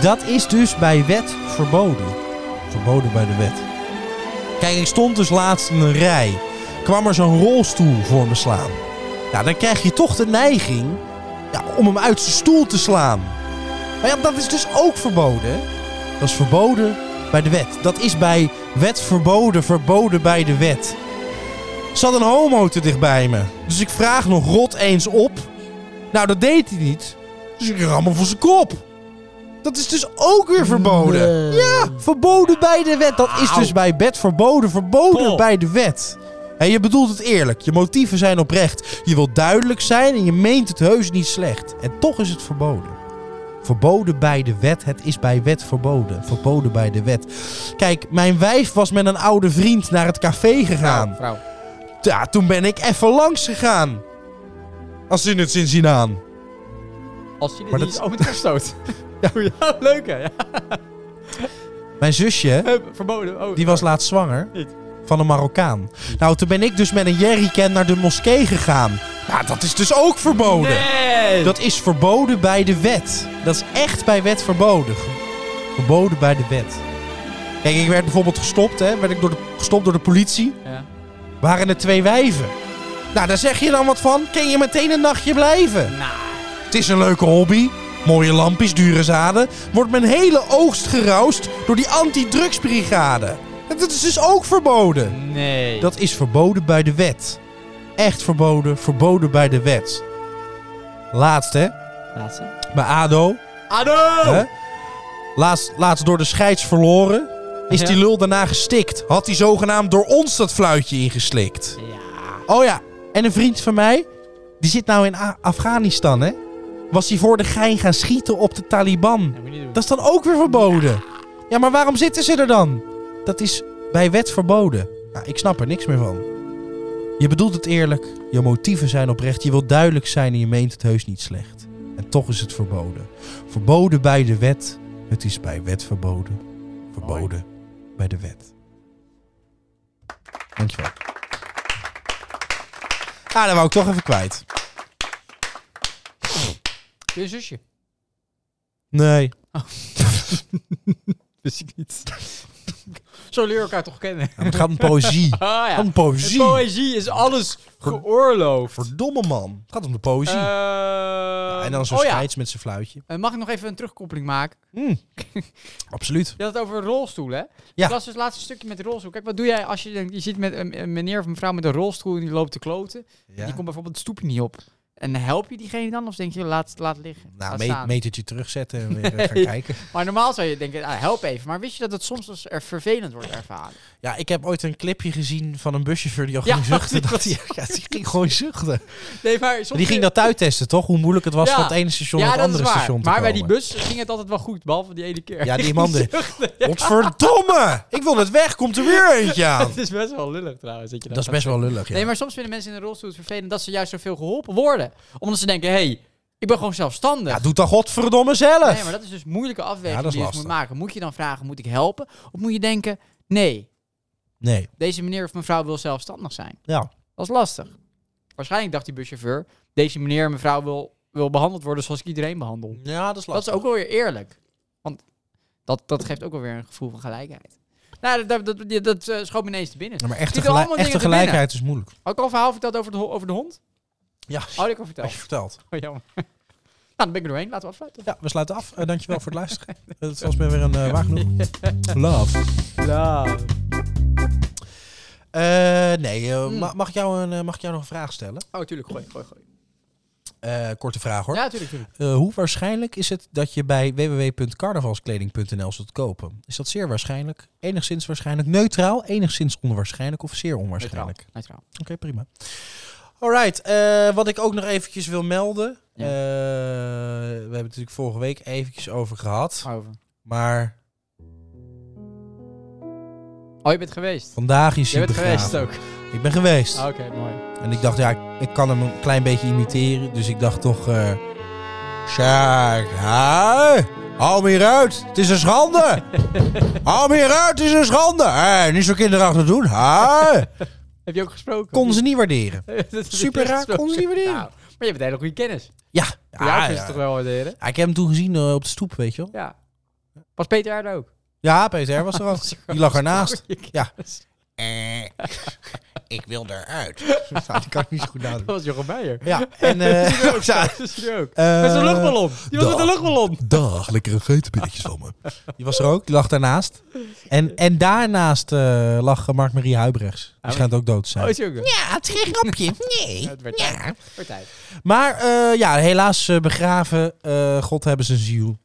A: Dat is dus bij wet verboden. Verboden bij de wet. Kijk, ik stond dus laatst in een rij. Kwam er zo'n rolstoel voor me slaan. Ja, dan krijg je toch de neiging ja, om hem uit zijn stoel te slaan. Maar ja, dat is dus ook verboden. hè? Dat is verboden bij de wet. Dat is bij wet verboden, verboden bij de wet. Zat een homo te dicht bij me. Dus ik vraag nog rot eens op. Nou, dat deed hij niet. Dus ik ram hem voor zijn kop. Dat is dus ook weer verboden. Ja, verboden bij de wet. Dat is dus bij bed verboden, verboden
B: Paul.
A: bij de wet. En je bedoelt het eerlijk. Je motieven zijn oprecht. Je wilt duidelijk zijn en je meent het heus niet slecht. En toch is het verboden. Verboden bij de wet. Het is bij wet verboden. Verboden bij de wet. Kijk, mijn wijf was met een oude vriend naar het café gegaan.
B: Vrouw.
A: Ja, toen ben ik even langs gegaan. Als ze het zin zien aan.
B: Als je dit
A: Maar
B: niet
A: dat-
B: is... Oh, met gestoot. ja, ja, leuk hè. Ja.
A: Mijn zusje,
B: Hup, Verboden. Oh,
A: die was laatst zwanger.
B: Niet.
A: Van een Marokkaan. Nou, toen ben ik dus met een jerrycan naar de moskee gegaan. Nou, dat is dus ook verboden.
B: Nee!
A: Dat is verboden bij de wet. Dat is echt bij wet verboden. Verboden bij de wet. Kijk, ik werd bijvoorbeeld gestopt, hè. Werd ik door de, gestopt door de politie.
B: Ja.
A: Waren er twee wijven. Nou, daar zeg je dan wat van. Kun je meteen een nachtje blijven.
B: Nou,
A: Het is een leuke hobby. Mooie lampjes, dure zaden. Wordt mijn hele oogst geroust door die anti-drugsbrigade. En Dat is dus ook verboden.
B: nee.
A: Dat is verboden bij de wet. Echt verboden, verboden bij de wet. Laatst, hè?
B: Laatste.
A: Bij ADO.
B: Ado!
A: Hè? Laatst, laatst door de scheids verloren. Is
B: Ja.
A: die lul daarna gestikt. Had hij zogenaamd door ons dat fluitje ingeslikt.
B: Ja.
A: Oh ja, en een vriend van mij, die zit nou in A- Afghanistan, hè? Was hij voor de gein gaan schieten op de Taliban.
B: Dat moet je niet doen.
A: Dat is dan ook weer verboden. Ja, maar waarom zitten ze er dan? Dat is bij wet verboden. Nou, ik snap er niks meer van. Je bedoelt het eerlijk, je motieven zijn oprecht, je wilt duidelijk zijn en je meent het heus niet slecht. En toch is het verboden. Verboden bij de wet, het is bij wet verboden. Verboden bij de wet. Dankjewel. Ah, dat wou ik toch even kwijt.
B: Je zusje.
A: Nee.
B: Wist ik niet. Zo leer je elkaar toch kennen.
A: Ja, maar Het gaat om poëzie. Het
B: Ah
A: gaat om
B: ja.
A: poëzie.
B: Poëzie is alles geoorloofd.
A: Verdomme man. Het gaat om de poëzie. Ehm, Ja, Hmm. en dan zo'n
B: oh ja,
A: scheids met zijn fluitje.
B: eh, mag ik nog even een terugkoppeling maken?
A: Absoluut.
B: Je had het over rolstoelen, hè?
A: Ja.
B: Ik las dus het laatste stukje met de rolstoel. Kijk, wat doe jij als je, denkt- je zit met een, een meneer of een vrouw met een rolstoel en die loopt te kloten? Die komt bijvoorbeeld de stoep niet op. En help je diegene dan? Of denk je, laat, laat liggen,
A: Nou,
B: laat
A: me-
B: staan?
A: metertje terugzetten en weer eh, gaan
B: Nee.
A: kijken.
B: Maar normaal zou je denken, ah, help even. Maar wist je dat het soms als er vervelend wordt ervaren?
A: Ja, ik heb ooit een clipje gezien van een buschauffeur die al
B: Ja,
A: ging zuchten.
B: die
A: Dat
B: was-
A: die, ja, die ging gewoon zuchten.
B: Nee, maar soms...
A: Die ging dat uittesten, toch? Hoe moeilijk het was
B: Ja.
A: van het ene station
B: ja,
A: naar het
B: dat is
A: andere
B: waar.
A: station te
B: maar bij die
A: komen.
B: bus ging het altijd wel goed, behalve die ene keer.
A: Ja, die
B: Ging
A: man die-
B: zuchten.
A: Godverdomme! Ik wil het weg, komt er weer eentje aan.
B: Het is best wel lullig trouwens. Dat, je
A: Oh. Dat is best wel lullig, ja.
B: Nee, maar soms vinden mensen in een rolstoel het vervelend dat ze juist zoveel geholpen worden. Omdat ze denken, hé, hey, ik ben gewoon zelfstandig.
A: Ja, doe dan godverdomme zelf.
B: nee, maar dat is dus moeilijke afweging
A: Ja, dat is
B: die je dus moet
A: lastig.
B: maken. Moet je dan vragen, moet ik helpen? Of moet je denken, nee,
A: Nee,
B: deze meneer of mevrouw wil zelfstandig zijn.
A: ja.
B: Dat is lastig. Waarschijnlijk dacht die buschauffeur, deze meneer en mevrouw wil, wil behandeld worden zoals ik iedereen behandel.
A: Ja, dat is
B: Dat is ook wel weer eerlijk. Want dat, dat geeft ook wel weer een gevoel van gelijkheid. Nou, dat, dat, dat, dat eh, schoot me ineens te binnen.
A: maar
B: Schieten
A: echte,
B: allemaal
A: gelijk- echte
B: dingen te binnen.
A: gelijkheid is moeilijk.
B: Had ik al een verhaal verteld over de, ho- over de hond? Oh,
A: Ja,
B: Had ik al
A: had
B: verteld.
A: je verteld.
B: Oh, jammer. Nou, dan ben ik er doorheen. Laten we afsluiten.
A: Ja, we sluiten af. Eh, dankjewel voor het luisteren. Het was me weer een eh, waar genoeg. Love.
B: Ja.
A: Eh, nee, eh,
B: Hmm.
A: ma- mag, ik jou een, eh, mag ik jou nog een vraag stellen?
B: Oh, tuurlijk. Gooi, gooi, gooi.
A: Eh, korte vraag hoor.
B: Ja, tuurlijk, tuurlijk.
A: Eh, hoe waarschijnlijk is het dat je bij www.carnavalskleding.nl zult kopen? Is dat zeer waarschijnlijk, enigszins waarschijnlijk, neutraal, enigszins onwaarschijnlijk of zeer onwaarschijnlijk?
B: Neutraal. Neutraal.
A: Oké, prima. Alright, eh, wat ik ook nog eventjes wil melden.
B: Ja.
A: Eh, we hebben het natuurlijk vorige week eventjes over gehad.
B: Over.
A: Maar
B: Oh, je bent geweest.
A: vandaag is
B: Je
A: hij
B: bent geweest
A: begraven.
B: ook.
A: Ik ben geweest.
B: Ah, Oké, mooi.
A: En ik dacht, ja, ik kan hem een klein beetje imiteren. Dus ik dacht toch... eh Sjaak, hè? Haal me hieruit, het is een schande. Haal me hieruit, het is een schande. Hé, niet zo kinderachtig doen. hè?
B: Heb je ook gesproken?
A: Kon ze niet waarderen.
B: Dat heb je
A: Super raar,
B: gesproken.
A: kon ze niet waarderen.
B: Nou, maar je hebt een hele goede kennis.
A: Ja, Ah,
B: Ja, ja,
A: ja,
B: kun je ze toch wel waarderen?
A: Ja, Ik heb hem toen gezien eh, op de stoep, weet je wel.
B: Ja. Was Peter Aarde ook?
A: Ja, Peter was er ook. Die lag ernaast.
B: Goeie kennis.
A: Ja. Eh, ik wil eruit. Nou, die kan ik niet zo goed
B: Dat
A: nadoen.
B: was Jochem Meijer.
A: Ja, en... eh
B: Dat is hij ook.
A: eh,
B: Met zijn luchtballon. Die was
A: dag.
B: met een luchtballon.
A: Dag, lekkere geitenbilletjes van me. Die was er ook, die lag daarnaast. En, en daarnaast eh, lag eh, Mark-Marie Huibrechts. Die
B: maar-
A: schijnt ook dood te
B: Oh,
A: zijn.
B: is hij ook er?
A: Ja, het Ah, is geen grapje. Nee.
B: Het werd tijd.
A: Ja.
B: Werd tijd.
A: Maar eh, ja, helaas eh, begraven. Eh, God hebben zijn ziel.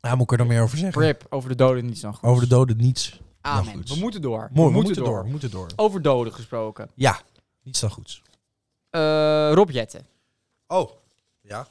A: Daar moet ik er dan meer over zeggen.
B: Rip over de doden niet zo goed.
A: Over de doden niets.
B: Amen.
A: Nou, goed.
B: we moeten door.
A: Mooi, we, moeten door. Oh. We moeten door.
B: Over doden gesproken.
A: Ja, niets dan goeds.
B: Eh Rob Jetten.
A: Oh, ja.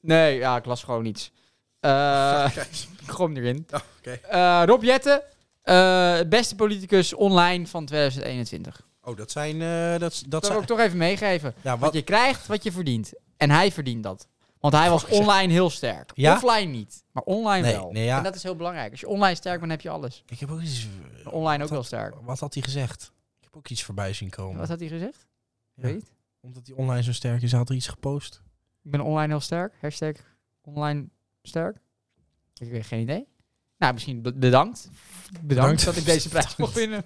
B: Nee, ja, ik las gewoon niets. Eh ik gooi hem erin.
A: Oh, oké.
B: Eh, Rob Jetten. eh, beste politicus online van 2021.
A: Oh, dat zijn... eh, dat, dat
B: Dat
A: zijn
B: wil ik toch even meegeven.
A: ja,
B: Wat
A: wat,
B: je krijgt, wat je verdient. En hij verdient dat. Want hij was
A: Fuck, zeg.
B: online heel sterk.
A: Ja?
B: Offline niet, maar online
A: Nee,
B: wel.
A: nee, ja.
B: En dat is heel belangrijk. Als je online sterk bent, heb je alles.
A: ik heb ook iets...
B: Online ook
A: dat-
B: wel sterk.
A: Wat had hij gezegd? Ik heb ook iets voorbij zien komen.
B: Wat had hij gezegd?
A: Ja.
B: Weet je het?
A: Omdat hij online zo sterk is, had hij iets gepost.
B: Ik ben online heel sterk. Hashtag online sterk. Ik weet geen idee. Nou, misschien be- bedankt. Bedankt,
A: Bedankt.
B: dat ik deze prijs mocht winnen.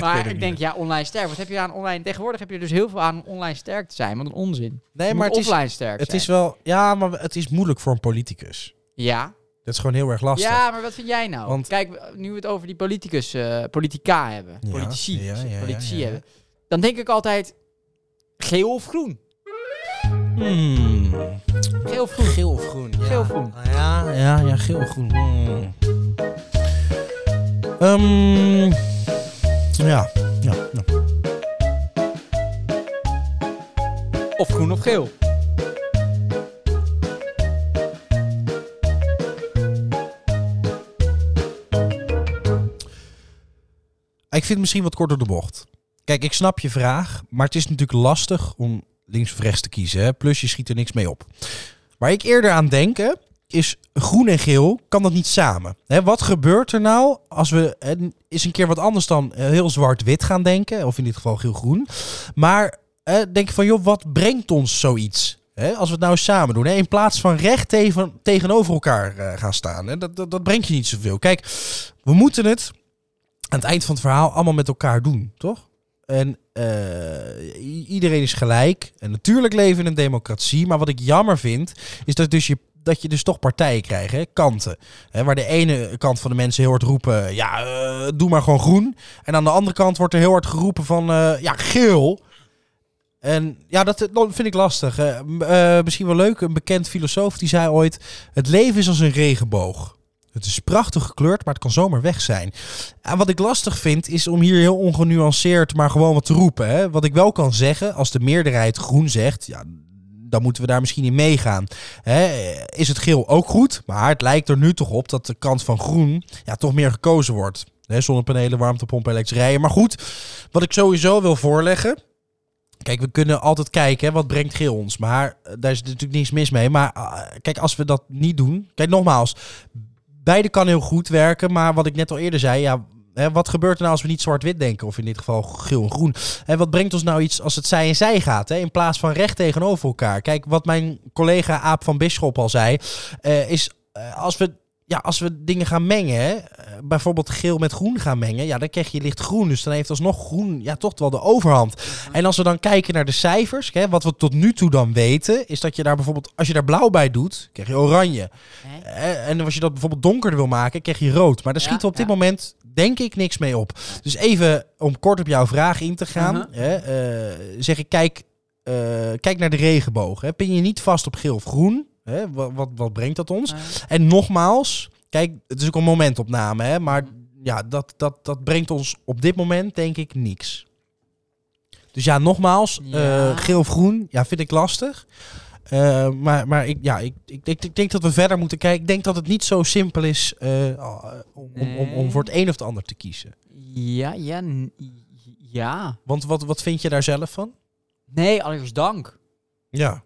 B: Maar ik denk, ja, online sterk. Wat heb je aan online? Tegenwoordig heb je dus heel veel aan om online sterk te zijn. Wat een onzin.
A: Nee, maar het is,
B: offline sterk
A: het
B: zijn.
A: is wel... Ja, maar het is moeilijk voor een politicus.
B: Ja.
A: Dat is gewoon heel erg lastig.
B: Ja, maar wat vind jij nou?
A: Want-
B: Kijk, nu we het over die politicus, eh, politica hebben,
A: Ja,
B: politici,
A: ja, ja,
B: politici
A: ja, ja.
B: hebben, dan denk ik altijd geel of groen.
A: Hmm.
B: Geel of groen.
A: Geel of groen? Ja.
B: Geel
A: Ah,
B: of groen.
A: Ja, ja, ja, geel of groen. Hmm. Ehm, ja, ja, ja.
B: Of groen of geel.
A: Ik vind het misschien wat kort door de bocht. Kijk, ik snap je vraag, maar het is natuurlijk lastig om links of rechts te kiezen. Hè? Plus je schiet er niks mee op. Waar ik eerder aan denken is groen en geel, kan dat niet samen? Hè, wat gebeurt er nou als we hè, eens een keer wat anders dan eh, heel zwart-wit gaan denken, of in dit geval geel-groen. Maar eh, denk van, joh, wat brengt ons zoiets? Hè, als we het nou samen doen, hè? in plaats van recht tegen, tegenover elkaar eh, gaan staan. Hè? Dat, dat, dat brengt je niet zoveel. Kijk, we moeten het aan het eind van het verhaal allemaal met elkaar doen, toch? En eh, i- iedereen is gelijk. En natuurlijk leven we in een democratie. Maar wat ik jammer vind, is dat, dus je, dat je dus toch partijen krijgt, hè? kanten. Hè, waar de ene kant van de mensen heel hard roepen, ja, eh, doe maar gewoon groen. En aan de andere kant wordt er heel hard geroepen van, eh, ja, geel. En ja, dat, dat vind ik lastig. Eh, m- eh, misschien wel leuk, een bekend filosoof die zei ooit... Het leven is als een regenboog. Het is prachtig gekleurd, maar het kan zomaar weg zijn. En wat ik lastig vind, is om hier heel ongenuanceerd maar gewoon wat te roepen. Hè? Wat ik wel kan zeggen, als de meerderheid groen zegt, ja, dan moeten we daar misschien in meegaan. Hè? Is het geel ook goed? Maar het lijkt er nu toch op dat de kant van groen ja, toch meer gekozen wordt. Hè, zonnepanelen, warmtepompen, elektrische rijen. Maar goed, wat ik sowieso wil voorleggen. Kijk, we kunnen altijd kijken, hè, wat brengt geel ons? Maar eh, daar is natuurlijk niks mis mee. Maar ah, kijk, als we dat niet doen... Kijk, nogmaals, beide kan heel goed werken. Maar wat ik net al eerder zei, ja, hè, wat gebeurt er nou als we niet zwart-wit denken? Of in dit geval geel en groen. En wat brengt ons nou iets als het zij en zij gaat? Hè, in plaats van recht tegenover elkaar. Kijk, wat mijn collega Aap van Bisschop al zei, eh, is eh, als we. Ja, als we dingen gaan mengen, hè, eh, bijvoorbeeld geel met groen gaan mengen, ja, dan krijg je lichtgroen. Dus dan heeft alsnog groen ja, toch wel de overhand. En als we dan kijken naar de cijfers, hè, wat we tot nu toe dan weten, is dat je daar bijvoorbeeld, als je daar blauw bij doet, krijg je oranje. Eh, En als je dat bijvoorbeeld donkerder wil maken, krijg je rood. Maar daar
B: Ja,
A: schieten we op dit
B: ja.
A: moment, denk ik, niks mee op. Dus even om kort op jouw vraag in te gaan,
B: Mhm.
A: hè, eh, zeg ik, kijk, eh, kijk naar de regenboog. Hè. Pin je niet vast op geel of groen. Hè. Wat, wat, wat brengt dat ons? En nogmaals, kijk, het is ook een momentopname, hè, maar ja, dat, dat, dat brengt ons op dit moment, denk ik, niks. Dus ja, nogmaals,
B: Ja.
A: eh, geel of groen, ja, vind ik lastig. Eh, maar maar ik, ja, ik, ik, ik, ik denk dat we verder moeten kijken. Ik denk dat het niet zo simpel is eh, om, om, om, om voor het een of het ander te kiezen.
B: Ja, ja, n- ja.
A: Want wat, wat vind je daar zelf van?
B: Nee, allereerst dank.
A: Ja.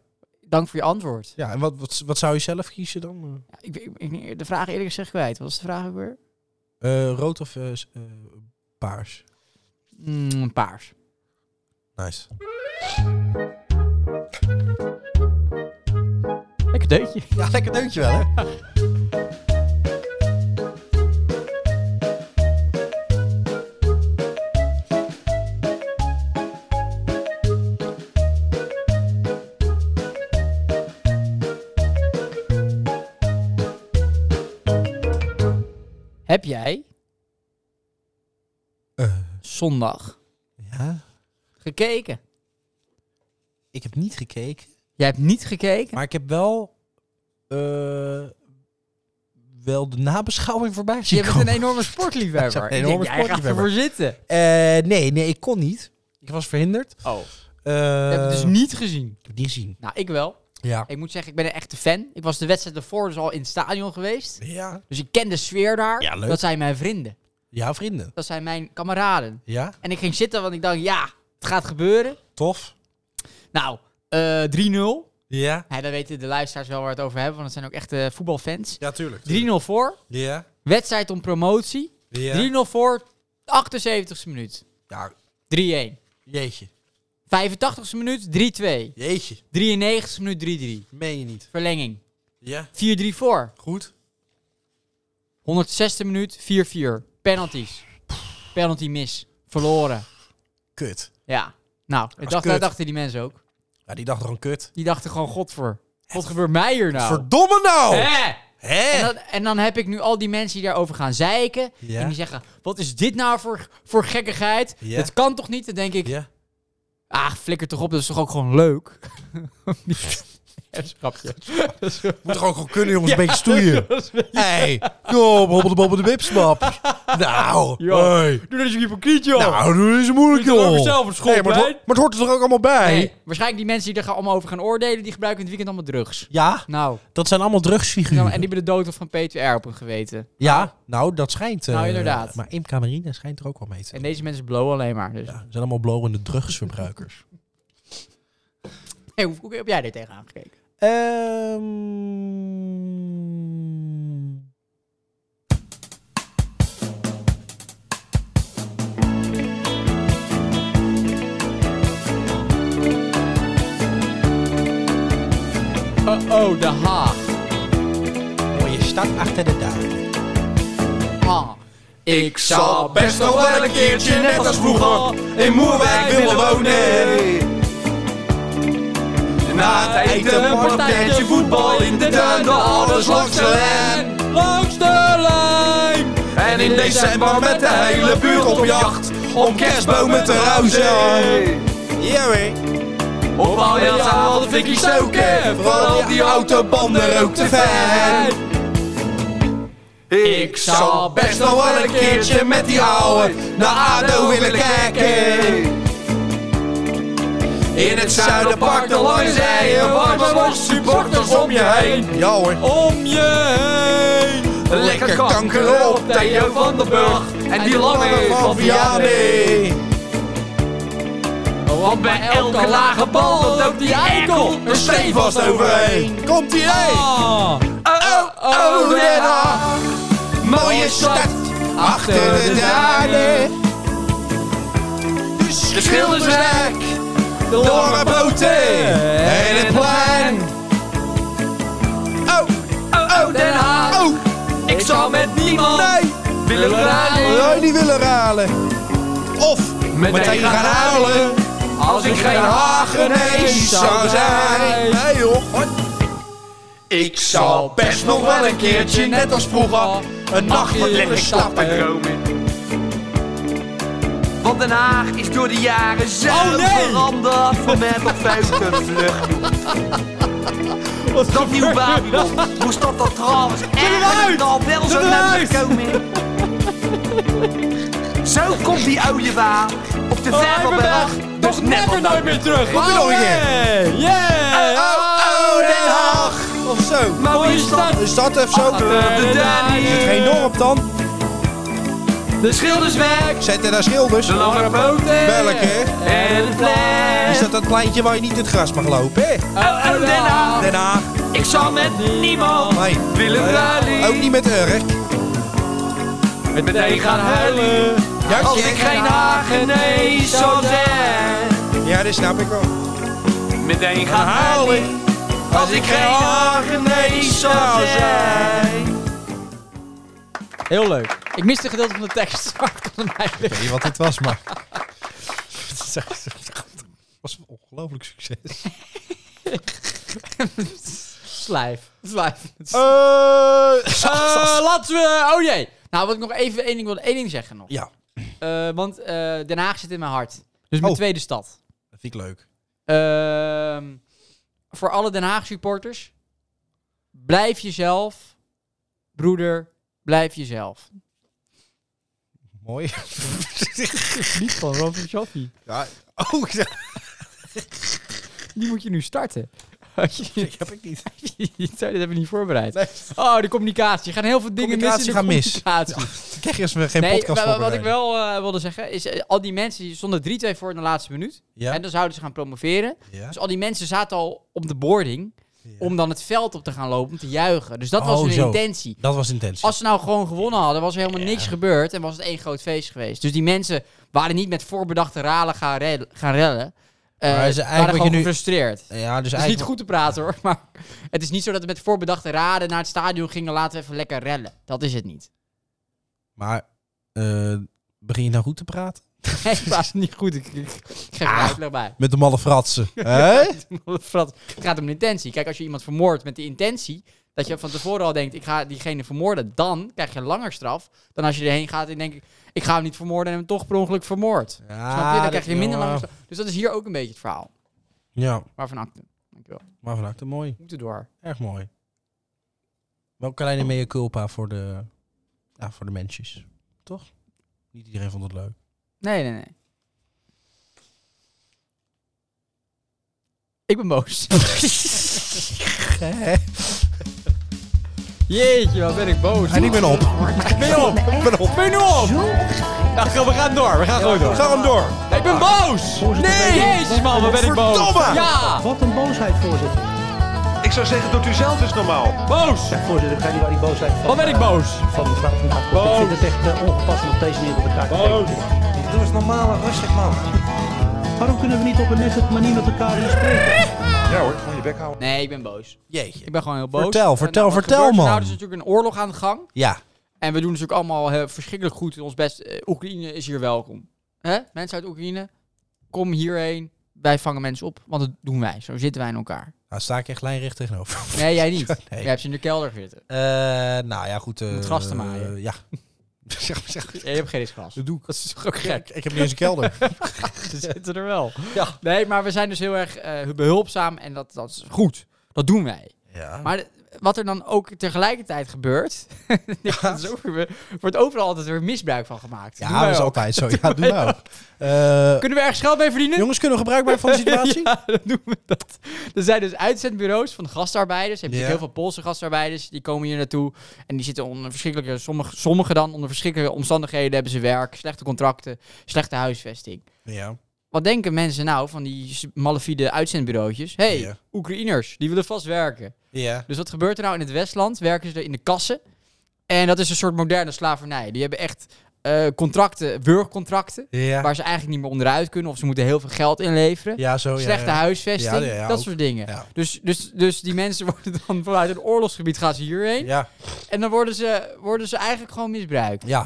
B: Dank voor je antwoord.
A: ja en wat, wat, wat zou je zelf kiezen dan?
B: Ja, ik, ik- ik- de vraag eerlijk gezegd kwijt. Wat is de vraag ook weer?
A: Eh, rood of eh, s- eh, paars?
B: Mm, paars.
A: Nice.
B: Lekker deutje.
A: Ja, lekker deuntje wel, hè?
B: Heb jij
A: Eh,
B: zondag
A: ja,
B: gekeken?
A: ik heb niet gekeken.
B: Jij hebt niet gekeken?
A: Maar ik heb wel, eh, wel de nabeschouwing voorbij
B: je
A: zien
B: bent een
A: komen.
B: enorme sportliefhebber.
A: Ik ben een
B: Ik denk,
A: enorme
B: jij gaat
A: sportliefhebber.
B: ervoor zitten.
A: Eh, nee, nee, ik kon niet. Ik was verhinderd.
B: Oh. Je
A: Eh,
B: hebt het dus niet gezien.
A: ik heb die zien.
B: Nou, ik wel.
A: Ja.
B: Ik moet zeggen, ik ben een echte fan. Ik was de wedstrijd ervoor dus al in het stadion geweest.
A: Ja.
B: Dus ik ken de sfeer daar.
A: Ja, leuk.
B: Dat zijn mijn vrienden.
A: Ja, vrienden.
B: Dat zijn mijn kameraden.
A: Ja,
B: En ik ging zitten, want ik dacht, ja, het gaat gebeuren.
A: tof.
B: Nou, eh 3-0.
A: Ja.
B: Ja, daar weten de luisteraars wel waar we het over hebben, want dat zijn ook echte voetbalfans.
A: Ja, tuurlijk.
B: 3-0 voor.
A: Ja.
B: Wedstrijd om promotie.
A: Ja.
B: 3-0 voor. 78ste minuut.
A: ja.
B: 3-1.
A: Jeetje.
B: 85ste minuut. 3-2.
A: Jeetje.
B: 93ste minuut. 3-3.
A: Meen je niet.
B: Verlenging.
A: Ja.
B: 4-3 voor.
A: Goed.
B: 106e minuut. 4-4. Penalties. Penalty mis. Verloren.
A: Kut.
B: Ja. Nou, ik
A: is
B: dacht,
A: kut.
B: dat dachten die mensen ook.
A: Ja, die dacht gewoon kut.
B: Die dachten gewoon, godver. Wat gebeurt mij hier nou?
A: Verdomme nou!
B: Hè? En
A: Hè?
B: dan, en dan heb ik nu al die mensen die daarover gaan zeiken.
A: Ja.
B: En die zeggen, wat is dit nou voor, voor gekkigheid?
A: Ja.
B: Het kan toch niet? Dan denk ik,
A: Ja.
B: ah, flikker toch op. Dat is toch ook gewoon leuk? Ja, Schrapje.
A: Moet toch ook gewoon kunnen, jongens, een beetje stoeien. Hé, kom, hobbel de bobbel de bipsmap. Nou,
B: Yo.
A: hey.
B: Doe dat je hypocriet, joh.
A: Nou, doe eens moeilijk,
B: Doe toch
A: joh.
B: ook zelf een schop
A: Nee, maar, het
B: bij?
A: hoort- maar het hoort er toch ook allemaal bij?
B: Nee, waarschijnlijk die mensen die er gaan- allemaal over gaan oordelen, die gebruiken in het weekend allemaal drugs.
A: Ja,
B: Nou,
A: dat zijn allemaal
B: en
A: drugsfiguren.
B: die hebben de dood van P2R op hun geweten.
A: Ja, nou, dat schijnt. eh,
B: Nou, inderdaad.
A: Maar Imca Marina schijnt er ook wel mee te
B: En deze mensen blowen alleen maar. Dus.
A: Ja, ze zijn allemaal blowende drugsverbruikers.
B: Hey, hoe, hoe heb jij dit tegenaan gekeken?
A: Ehm.
B: Oh, oh, de Haag.
A: Mooie stad achter de duinen.
B: Ha.
C: Ah. Ik zal best nog wel een keertje, net als vroeger, in Moerwijk willen wonen. Na het eten een partijtje voetbal in de tuin, door alles langs de lijn.
B: Langs de lijn.
C: En in december met de hele buurt op jacht, om kerstbomen te ruizen.
A: Ja, hoor.
C: Op aljaansavond vind ik stoken, vooral die autobanden rookt te fijn. Ik zou best nog wel een keertje met die ouwe naar ADO willen kijken. In het Zuiderpark de langs rijen, warme worst, supporters om je heen.
A: Ja, hoor.
C: Om je heen. Lekker kankeren op Theo van den Burg en die lange van Vianney.
B: Oh, Want bij
C: Elke lage bal, dat loopt die eikel er stevast overheen.
A: Komt ie heen!
B: Ah.
C: Oh, oh, Den Haag. Mooie stad achter de duinen. De schilderswerk, de lange boten en het plein. Oh, oh, oh, Den Haag.
A: Oh,
C: Ik zal met niemand
A: nee!
C: willen ruilen.
A: Nee, die willen ralen. Of
C: Meteen gaan huilen. Als ik geen Hagenees zou zijn.
A: Nee, joh.
C: Ik zal best nog wel een keertje, net als vroeger, een nacht met lekker slapen dromen. Want Den Haag is door de jaren zelf
B: Oh, nee!
C: veranderd van met op vlucht. Dat nieuw Babylon, hoe staat dat trouwens
B: eruit!
C: erg al wel zo
B: Eruit!
C: naar komen. Zo komt die oude waar op de Vervelberg, dus net wat
B: nooit meer terug.
A: Kom je nog een keer?
B: Hey, yeah.
C: oh, Den Haag. Ah, eh,
A: Of zo.
C: mooie stad.
A: Is dat even zo?
C: De Danube.
A: Geen dorp dan?
C: De schilderswerk,
A: Zet er daar schilders?
C: de lange Eh. boten.
A: Welke?
C: En het plein.
A: Is dat dat pleintje waar je niet in het gras mag lopen, hè?
C: Oh, oh, Den Haag.
A: Den Haag.
C: Ik zal met niemand
A: Nee.
C: willen
A: Ook
C: rally.
A: niet met Urk.
C: Met meteen gaan huilen.
A: Juist,
C: Als
A: hè?
C: ik geen Hagenees zou zijn.
A: Ja, dat snap ik wel.
C: Meteen gaan huilen. Als ik geen Hagenees zou zijn.
B: Heel leuk. Ik miste een gedeelte van de tekst. maar ik kon hem eigenlijk-
A: Ik weet niet wat dit was, maar... Het was een ongelooflijk succes.
B: Slijf. Slijf.
A: Eh,
B: Eh, laten we... Oh jee. Nou, wat ik nog even... één ding wilde één ding zeggen nog.
A: ja,
B: Eh, want eh, Den Haag zit in mijn hart. Dus mijn
A: Oh.
B: tweede stad.
A: dat vind ik leuk.
B: Ehm, voor alle Den Haag supporters. Blijf jezelf. Broeder, blijf jezelf.
A: Mooi.
B: Niet van Robert Joffi.
A: Ja. Oh, ja,
B: Die moet je nu starten. Had je-
A: die heb ik niet.
B: Sorry, dat hebben we niet voorbereid.
A: Nee.
B: Oh, de communicatie. Er gaan heel veel dingen mis in
A: Communicatie
B: de
A: gaan mis.
B: communicatie.
A: Ik krijg je als we geen
B: nee, wa-
A: podcast
B: wa- wat ik
A: voorbereiden.
B: wel eh, wilde zeggen is, eh, al die mensen die stonden 3-2 voor in de laatste minuut.
A: Ja.
B: En dan zouden ze gaan promoveren.
A: Ja?
B: Dus al die mensen zaten al op de boarding
A: Ja.
B: om dan het veld op te gaan lopen, om te juichen. Dus dat was
A: Oh,
B: hun
A: zo.
B: intentie.
A: Dat was intentie.
B: Als ze nou gewoon gewonnen hadden, was er helemaal niks gebeurd en was het één groot feest geweest. Dus die mensen waren niet met voorbedachte ralen gaan, rel- gaan rellen. Eh,
A: Maar is
B: ze
A: eigenlijk
B: waren
A: wat je
B: gewoon
A: nu-
B: gefrustreerd.
A: Ja, dus
B: Het is niet
A: eigenlijk...
B: goed te praten hoor, maar het is niet zo dat we met voorbedachte raden naar het stadion gingen laten we even lekker rellen. Dat is het niet.
A: Maar eh, begin je nou goed te praten?
B: Nee, het was niet goed. Ik, ik, ik geef er
A: Ah.
B: uitleg bij.
A: Met de malle fratsen. Hé?
B: Frat, het gaat om de intentie. Kijk, als je iemand vermoordt met de intentie dat je van tevoren al denkt, ik ga diegene vermoorden, dan krijg je een langer straf dan als je erheen gaat en denkt, ik ga hem niet vermoorden en hem toch per ongeluk vermoord. Snap je? Dan krijg je minder lange straf. Dus dat is hier ook een beetje het verhaal.
A: eh, Ja,
B: Waarvan acte. Dankjewel.
A: maar van harte mooi.
B: We moeten door.
A: Erg mooi. Wel een kleine mea culpa voor de, ja, voor de mensjes. Toch? Niet iedereen vond het leuk.
B: Nee, nee, nee. Ik ben boos. Jeetje, wat ben ik boos.
A: en ik ben op.
B: Ben je op?
A: Ik ben op.
B: Ben je nu op? Ja, we gaan door, we gaan gewoon door.
A: Ga hem door.
B: Ik ben boos! Nee! Jezus man, wat ben ik boos!
A: Verdomme!
B: Ja!
D: Wat een boosheid, voorzitter.
C: Ik zou zeggen, doet u zelf eens normaal.
B: Boos!
D: Voorzitter, ik ga niet waar die boosheid van,
B: Wat ben ik boos!
D: van mevrouw van Gaal komt. Ik vind het echt eh, ongepast om op deze manier op elkaar te reageren.
E: Doe eens normaal, rustig man.
D: Waarom kunnen we niet op een nette manier met elkaar hier spreken?
C: Ja hoor, moet je bek houden.
B: Nee, ik ben boos.
A: Jeetje.
B: Ik ben gewoon heel boos.
A: Vertel,
B: En, nou,
A: vertel,
B: wat
A: vertel,
B: gebeurt er
A: man.
B: Nou, er is natuurlijk een oorlog aan de gang.
A: Ja.
B: En we doen natuurlijk allemaal eh, verschrikkelijk goed ons best. Eh, Oekraïne is hier welkom. Hè? Mensen uit Oekraïne, kom hierheen. Wij vangen mensen op, want dat doen wij. Zo zitten wij in elkaar.
A: Nou sta ik echt lijnrecht tegenover.
B: Nee, jij niet.
A: Nee.
B: Jij hebt ze in de kelder zitten.
A: Eh, nou ja, goed. eh,
B: Om het gras te maaien.
A: ja. Zeg maar, zeg maar.
B: Je hebt geen gras. Dat doe ik. Dat is toch ook gek?
A: Ik, ik heb niet eens een kelder.
B: Ze zitten er wel.
A: Ja.
B: Nee, maar we zijn dus heel erg eh, behulpzaam en dat, dat is goed. Dat doen wij.
A: Ja.
B: Maar de- wat er dan ook tegelijkertijd gebeurt, dat is ook weer- wordt overal altijd weer misbruik van gemaakt. Doen
A: ja,
B: wij
A: dat is
B: ook.
A: altijd zo. Ja, nou. doe nou. Eh,
B: Kunnen we ergens geld mee verdienen?
A: jongens, kunnen we gebruik maken van de situatie?
B: Ja, dan doen we dat. Er zijn dus uitzendbureaus van gastarbeiders. Je hebt natuurlijk
A: Ja.
B: heel veel Poolse gastarbeiders. Die komen hier naartoe. En die zitten onder verschrikkelijke... Sommige, sommige dan onder verschrikkelijke omstandigheden hebben ze werk. Slechte contracten. Slechte huisvesting.
A: Ja.
B: Wat denken mensen nou van die s- malafide uitzendbureautjes? Hé, hey,
A: Ja.
B: Oekraïners. Die willen vast werken.
A: Ja.
B: Dus wat gebeurt er nou in het Westland? Werken ze er in de kassen. En dat is een soort moderne slavernij. Die hebben echt eh, contracten, burgercontracten.
A: Ja.
B: Waar ze eigenlijk niet meer onderuit kunnen. Of ze moeten heel veel geld inleveren.
A: Ja, zo. ja,
B: Slechte
A: ja.
B: huisvesting.
A: Ja, ja, ja,
B: dat
A: ook.
B: soort dingen.
A: Ja.
B: Dus, dus, dus die mensen worden dan vanuit het oorlogsgebied gaan ze hierheen.
A: Ja.
B: En dan worden ze, worden ze eigenlijk gewoon misbruikt.
A: Ja.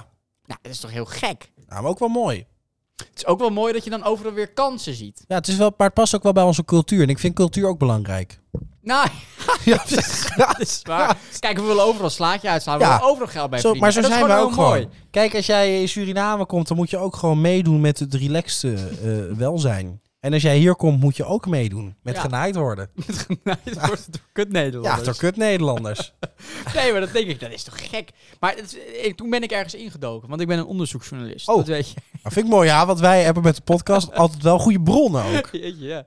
B: Nou, dat is toch heel gek.
A: Nou, maar ook wel mooi.
B: Het is ook wel mooi dat je dan overal weer kansen ziet.
A: Ja, het is wel, maar het past ook wel bij onze cultuur. En ik vind cultuur ook belangrijk.
B: Nou,
A: Ja,
B: dat is waar. Kijk, we willen overal slaatje uitslaan. We
A: Ja.
B: willen overal geld bij
A: zo,
B: verdienen.
A: maar zo
B: En dat is
A: zijn we ook
B: heel
A: gewoon. Kijk, als jij in Suriname komt, dan moet je ook gewoon meedoen met het relaxte eh, welzijn. En als jij hier komt, moet je ook meedoen. Met
B: Ja.
A: genaaid worden.
B: Nee, het wordt door kut Nederland.
A: Ja, door kut Nederlanders.
B: Nee, maar dat denk ik, dat is toch gek. Maar het is- eh, toen ben ik ergens ingedoken, want ik ben een onderzoeksjournalist.
A: Oh.
B: Dat weet je.
A: dat vind ik mooi, ja. Want wij hebben met de podcast altijd wel goede bronnen ook.
B: Jeetje, ja.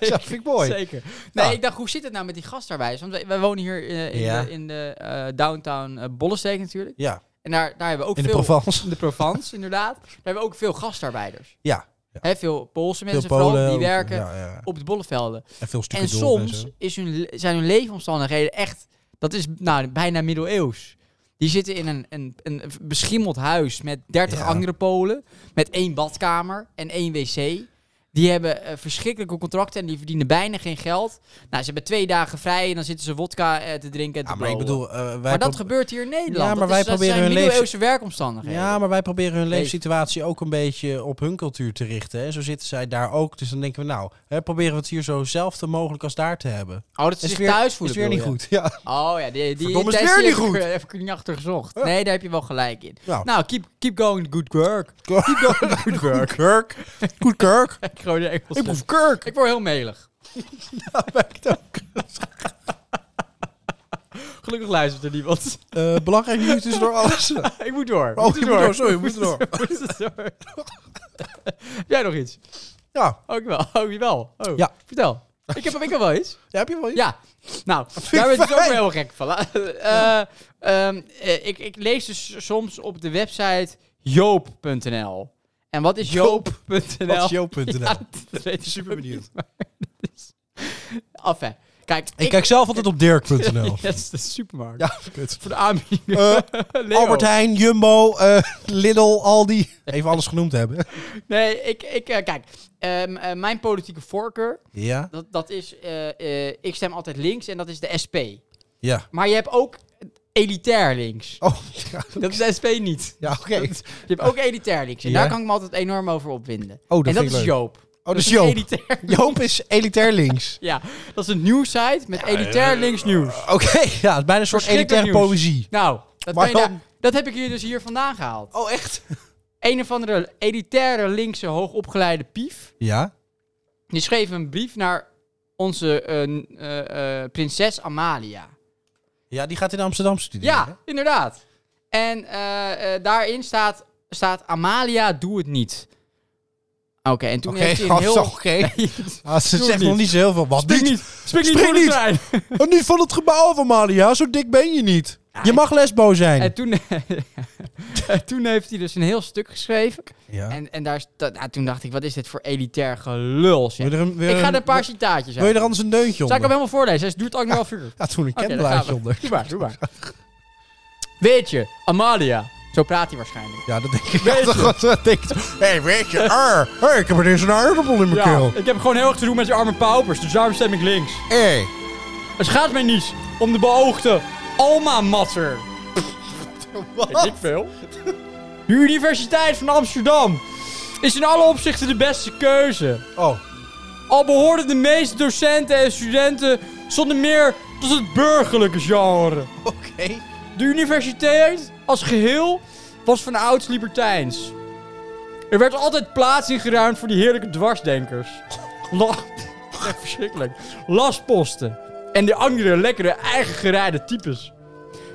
A: Ja, vind ik mooi.
B: Zeker. Nee,
A: Ja.
B: ik dacht, hoe zit het nou met die gastarbeiders? Want wij, wij wonen hier eh, in,
A: Ja.
B: de, in de eh, downtown eh, Bollesteek natuurlijk.
A: Ja,
B: En daar, daar hebben we ook
A: in de
B: veel...
A: Provence.
B: In de Provence, inderdaad. Daar hebben we ook veel gastarbeiders.
A: Ja. ja.
B: Hè, veel Poolse
A: Veel
B: mensen
A: Polen.
B: vooral, die
A: ook,
B: werken
A: Ja, ja.
B: op de bollevelden.
A: En veel stukken
B: En soms is hun, le- zijn hun leefomstandigheden echt... Dat is nou, bijna middeleeuws. Die zitten in een, een, een beschimmeld huis met 30
A: Ja.
B: andere Polen. Met één badkamer en één wc. Die hebben eh, verschrikkelijke contracten en die verdienen bijna geen geld. Nou, ze hebben twee dagen vrij en dan zitten ze wodka eh, te drinken en te
A: Ja, maar ik
B: blowen.
A: bedoel, eh, wij
B: maar dat
A: pro-
B: gebeurt hier in Nederland.
A: Ja, maar
B: Dat
A: wij
B: is- dat
A: proberen
B: zijn
A: hun
B: middeleeuwse werkomstandigheden.
A: Ja, maar wij proberen hun
B: Leef.
A: leefsituatie ook een beetje op hun cultuur te richten. Hè. Zo zitten zij daar ook. Dus dan denken we, nou, hè, proberen we het hier zo zelfde mogelijk als daar te hebben.
B: Oh, dat ze
A: is
B: zich
A: weer-
B: thuis voelen.
A: is weer niet
B: bedoel
A: goed. Ja.
B: je? Oh ja, die, die
A: Verdomme, is
B: die-
A: weer
B: die
A: niet
B: heb ik
A: goed.
B: er- Heb ik er niet achter gezocht.
A: Ja.
B: Nee, daar heb je wel gelijk in.
A: Nou.
B: Nou, keep, keep going, good work.
A: Goed kerk. Goed kerk.
B: Ik gooi de Engels erin.
A: Ik proef kerk.
B: Ik word heel melig. Gelukkig luistert er niemand.
A: Eh, belangrijk nieuws is door alles. Oh,
B: ik moet door.
A: je moet door. Sorry, we moeten door.
B: Ik moet door. Heb Jij nog iets?
A: Ja.
B: Ook wel. Oh, je wel. Oh,
A: Ja.
B: Vertel. Ik heb, ik heb wel iets.
A: Ja, heb je wel iets?
B: Ja, nou, daar werd ik dus ook
A: fijn.
B: weer heel gek van. Eh, ehm, eh, ik, ik lees dus soms op de website joop.nl. En wat is
A: Joop?
B: joop.nl?
A: Wat is nou? joop.nl?
B: Ja, dat weet ik
A: Super
B: ook
A: benieuwd.
B: niet, maar dat is- Enfin, kijk.
A: Ik kijk zelf altijd op
B: Ja,
A: dirk.nl.
B: dat is de supermarkt.
A: Ja, kut.
B: Voor de aanbiedingen.
A: Eh,
B: Leo.
A: Albert Heijn, Jumbo, eh, Lidl, Aldi. Even alles genoemd hebben.
B: Nee, ik, ik, eh, kijk. ehm, eh, mijn politieke voorkeur,
A: Ja,
B: dat, dat is... eh, eh, ik stem altijd links en dat is de SP.
A: ja.
B: Maar je hebt ook elitair links.
A: Oh, ja,
B: Dat is de SP niet.
A: ja oké.
B: Je hebt ook elitair links. En
A: Ja.
B: daar kan ik me altijd enorm over opwinden.
A: dat
B: en dat
A: vind ik
B: is
A: leuk.
B: Joop.
A: Oh, dus
B: is
A: Joop.
B: Elitair.
A: Joop is elitair links.
B: Ja, dat is een nieuwssite met elitair links nieuws.
A: Oké, ja, het is bijna een soort
B: Verschrikkelijk
A: elitaire
B: nieuws.
A: poëzie.
B: Nou, dat,
A: Maar
B: kan je daar-
A: dan-
B: dat heb ik hier dus hier vandaan gehaald.
A: Oh, echt?
B: Een of andere elitaire linkse hoogopgeleide pief.
A: Ja.
B: Die schreef een brief naar onze eh, n- eh, eh, prinses Amalia.
A: Ja, die gaat in Amsterdam studeren. hè?
B: Ja, inderdaad. En eh, eh, daarin staat, staat Amalia, doe het niet. Oké, en toen
A: Oké,
B: heeft hij een heel...
A: gast, oké. Ah, oh, ze
B: Doe
A: zegt
B: het
A: nog
B: niet.
A: niet zo heel veel. Was
B: Spring niet, spring niet
A: Spring
B: voor de
A: niet.
B: trein.
A: Oh, niet van het gebouw van Malia. Zo dik ben je niet. Je mag lesbo
B: En
A: zijn.
B: toen, eh, en toen heeft hij dus een heel stuk geschreven.
A: Ja.
B: En, en daar, is dat- nou, toen dacht ik, wat is dit voor elitair gelul? zeg.
A: Wil je er een- wil je
B: ik ga
A: een-
B: er een paar citaatjes
A: Wil je er
B: uit.
A: anders een deuntje
B: Zal ik hem
A: onder?
B: helemaal voorlezen? Het duurt ook nog wel een uur.
A: Ja, toen een
B: Oké, daar
A: kemblaadje
B: gaan we.
A: onder.
B: Doe maar, doe maar. Weet je, Amalia. Zo praat hij waarschijnlijk.
A: Ja, dat denk ik.
B: Weet
A: Dat
B: je.
A: gaat- dat denk ik. hey, weet je. Arr, hey, ik heb er eens een aardappel in mijn keel.
B: ik heb gewoon heel erg te doen met die arme paupers, dus daarom stem ik links.
A: Hey.
B: Het gaat mij niet om de beoogde Alma Matter. Weet ik veel. De Universiteit van Amsterdam is in alle opzichten de beste keuze.
A: Oh,
B: Al behoorden de meeste docenten en studenten zonder meer tot het burgerlijke genre.
A: oké.
B: De universiteit als geheel was van ouds libertijns. Er werd altijd plaats ingeruimd voor die heerlijke dwarsdenkers. La Echt verschrikkelijk. Lastposten. En die andere lekkere eigen gereide types.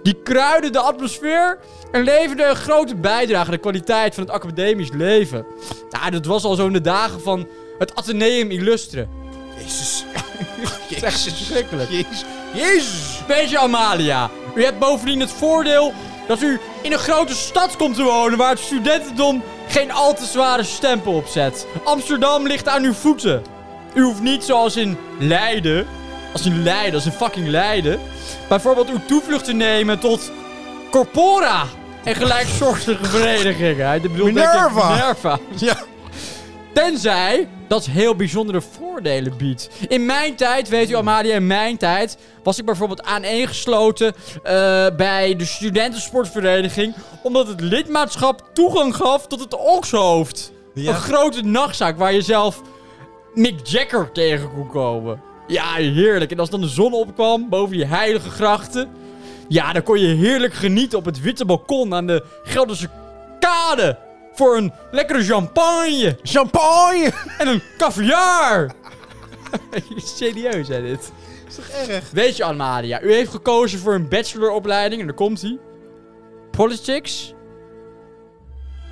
B: Die kruiden de atmosfeer en leverden een grote bijdrage aan de kwaliteit van het academisch leven. Nou, dat was al zo in de dagen van het Atheneum Illustre.
A: Jezus.
B: Het is echt verschrikkelijk.
A: Jezus. Jezus.
B: Beetje Amalia. U hebt bovendien het voordeel dat u in een grote stad komt te wonen waar het studentendom geen al te zware stempel op zet. Amsterdam ligt aan uw voeten. U hoeft niet zoals in Leiden, als in Leiden, als in fucking Leiden, bijvoorbeeld uw toevlucht te nemen tot corpora en gelijksoortige verenigingen. Hij bedoelt denk ik
A: Minerva.
B: Minerva.
A: Ja.
B: Tenzij dat heel bijzondere voordelen biedt. In mijn tijd, weet u Amalia, in mijn tijd was ik bijvoorbeeld aaneengesloten eh bij de studentensportvereniging. Omdat het lidmaatschap toegang gaf tot het Okshoofd.
A: Ja.
B: Een grote nachtzaak waar je zelf Mick Jagger tegen kon komen. Ja, heerlijk. En als dan de zon opkwam boven die heilige grachten. Ja, dan kon je heerlijk genieten op het witte balkon aan de Gelderse kade. Voor een lekkere champagne.
A: Champagne.
B: En een kaviaar! Serieus, hè, dit? Is toch erg? Weet je, Anne-Maria, u heeft gekozen voor een bacheloropleiding, en daar komt hij. Politics.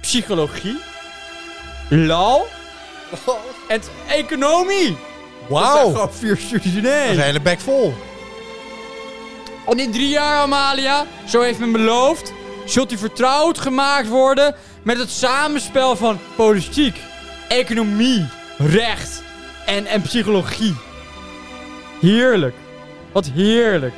B: Psychologie. Law. En economie. Dat zijn
A: Wauw. Dat
B: gewoon Oh. vier studies in
A: is
B: één.
A: een hele bek vol.
B: En in Oh, drie jaar, Amalia, zo heeft men beloofd, zult u vertrouwd gemaakt worden met het samenspel van politiek, economie, recht en, en psychologie. Heerlijk. Wat heerlijk.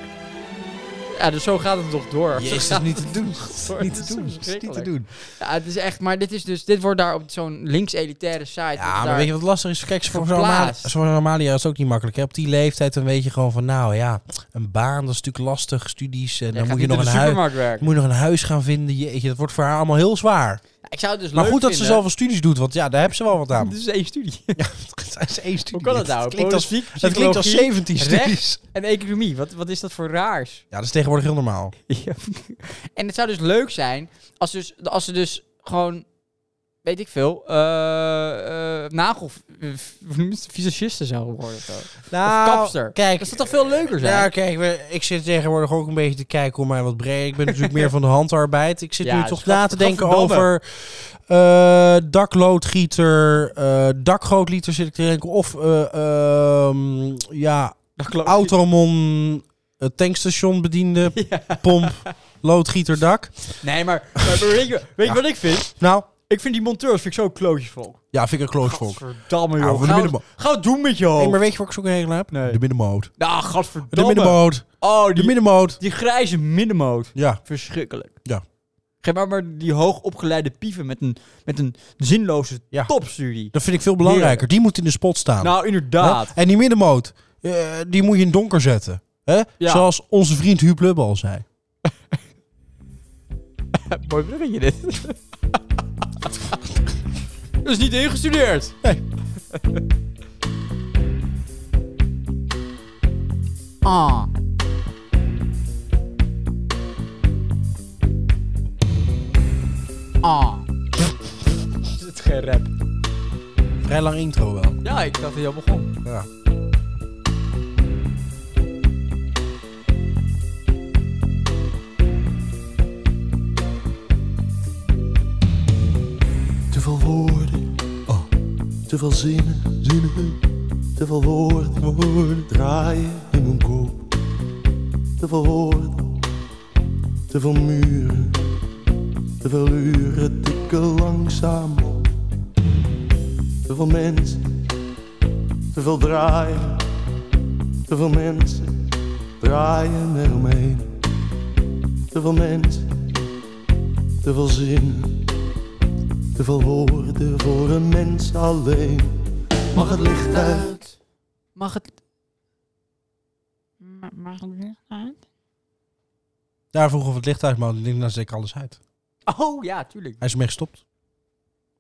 B: Ja, dus zo gaat het toch door. Zo
A: Jezus,
B: gaat
A: niet
B: het
A: te doen.
B: toch
A: Het
B: door.
A: is Niet
B: Het
A: te
B: is
A: doen. Het is Niet te
B: verschrikkelijk.
A: doen.
B: Ja, het is echt, maar dit, is dus, dit wordt daar op zo'n links-elitaire site. wordt
A: Ja, maar
B: daar-
A: weet je wat lastig is? Kijk, voor zo'n
B: Geplaatst.
A: Amalia, zo'n Amalia is het ook niet makkelijk. Hè? Op die leeftijd dan weet je gewoon van, nou ja, een baan dat is natuurlijk lastig, studies. En
B: Jij
A: dan
B: gaat
A: moet je,
B: niet in
A: nog een
B: de
A: huis,
B: supermarkt werken.
A: moet je nog een huis gaan vinden. Jeetje, dat wordt voor haar allemaal heel zwaar.
B: Ik zou het dus
A: Maar
B: leuk
A: goed dat ze
B: vinden.
A: zoveel studies doet, want ja, daar hebben ze wel wat aan.
B: Dit is één studie.
A: Het is één studie.
B: Hoe kan dat nou?
A: Het klinkt als,
B: Politiek,
A: het klinkt als
B: psychologie,
A: 17
B: recht.
A: studies.
B: En economie, wat, wat is dat voor raars?
A: Ja, dat is tegenwoordig heel normaal.
B: en het zou dus leuk zijn als, dus, als ze dus gewoon weet ik veel, eh eh nagel, visagiste zou geworden. of zo. of kapster.
A: Ah, Nou, Kijk,
B: dat zou toch veel leuker zijn?
A: Ja, kijk, we- ik zit tegenwoordig ook een beetje te kijken om mij wat breder. Ik ben natuurlijk meer van de handarbeid. Ik zit
B: Ja,
A: nu
B: dus
A: toch
B: gaf-
A: na te denken
B: gadverdamme.
A: over eh, dakloodgieter, eh dakgootgieter zit ik te denken. Of eh, ehm, ja, automon, eh, tankstation bediende, pomp, loodgieter, dak.
B: Nee, maar, maar weet je, weet je wat ik vind?
A: Nou,
B: Ik vind die monteurs vind ik zo klootjesvolk.
A: ja, vind ik een klootvol.
B: Gadverdamme,
A: Ja,
B: joh.
A: voor de
B: Ga het-
A: middenmo-
B: Ga het doen met je hoofd.
A: Hey, maar weet je wat ik zo'n regel heb?
B: Nee.
A: De middenmoot.
B: Nou,
A: De
B: gadverdamme.
A: middenmoot.
B: Oh,
A: De
B: die,
A: middenmoot.
B: die grijze middenmoot.
A: Ja.
B: Verschrikkelijk.
A: Ja.
B: Geef maar, maar die hoogopgeleide pieven met een, met een zinloze
A: Ja.
B: topstudie.
A: Dat vind ik veel belangrijker. Die moet in de spot staan.
B: Nou, inderdaad.
A: Hè? En die middenmoot, eh, die moet je in het donker zetten. Hè?
B: Ja.
A: Zoals onze vriend Huub Lubbe al zei.
B: Mooi bruggetje dit. Dat is niet ingestudeerd. Ah. Ah. Is het geen rap?
A: Vrij lang intro wel.
B: Ja, ik dacht dat hij al begon.
A: Ja.
F: Te veel woorden, oh. te veel zinnen, zinnen, te veel woorden, woorden draaien in mijn kop. Te veel woorden, te veel muren, te veel uren tikken langzaam op. Te veel mensen, te veel draaien, te veel mensen draaien eromheen. Te veel mensen, te veel zinnen. Te veel woorden voor een mens alleen. Mag het licht uit?
B: Mag het...
G: Ma- Mag het licht uit?
A: Daar vroeg of het licht uit, maar ik denk, dan zet ik alles uit.
B: Oh ja, tuurlijk.
A: Hij is ermee gestopt.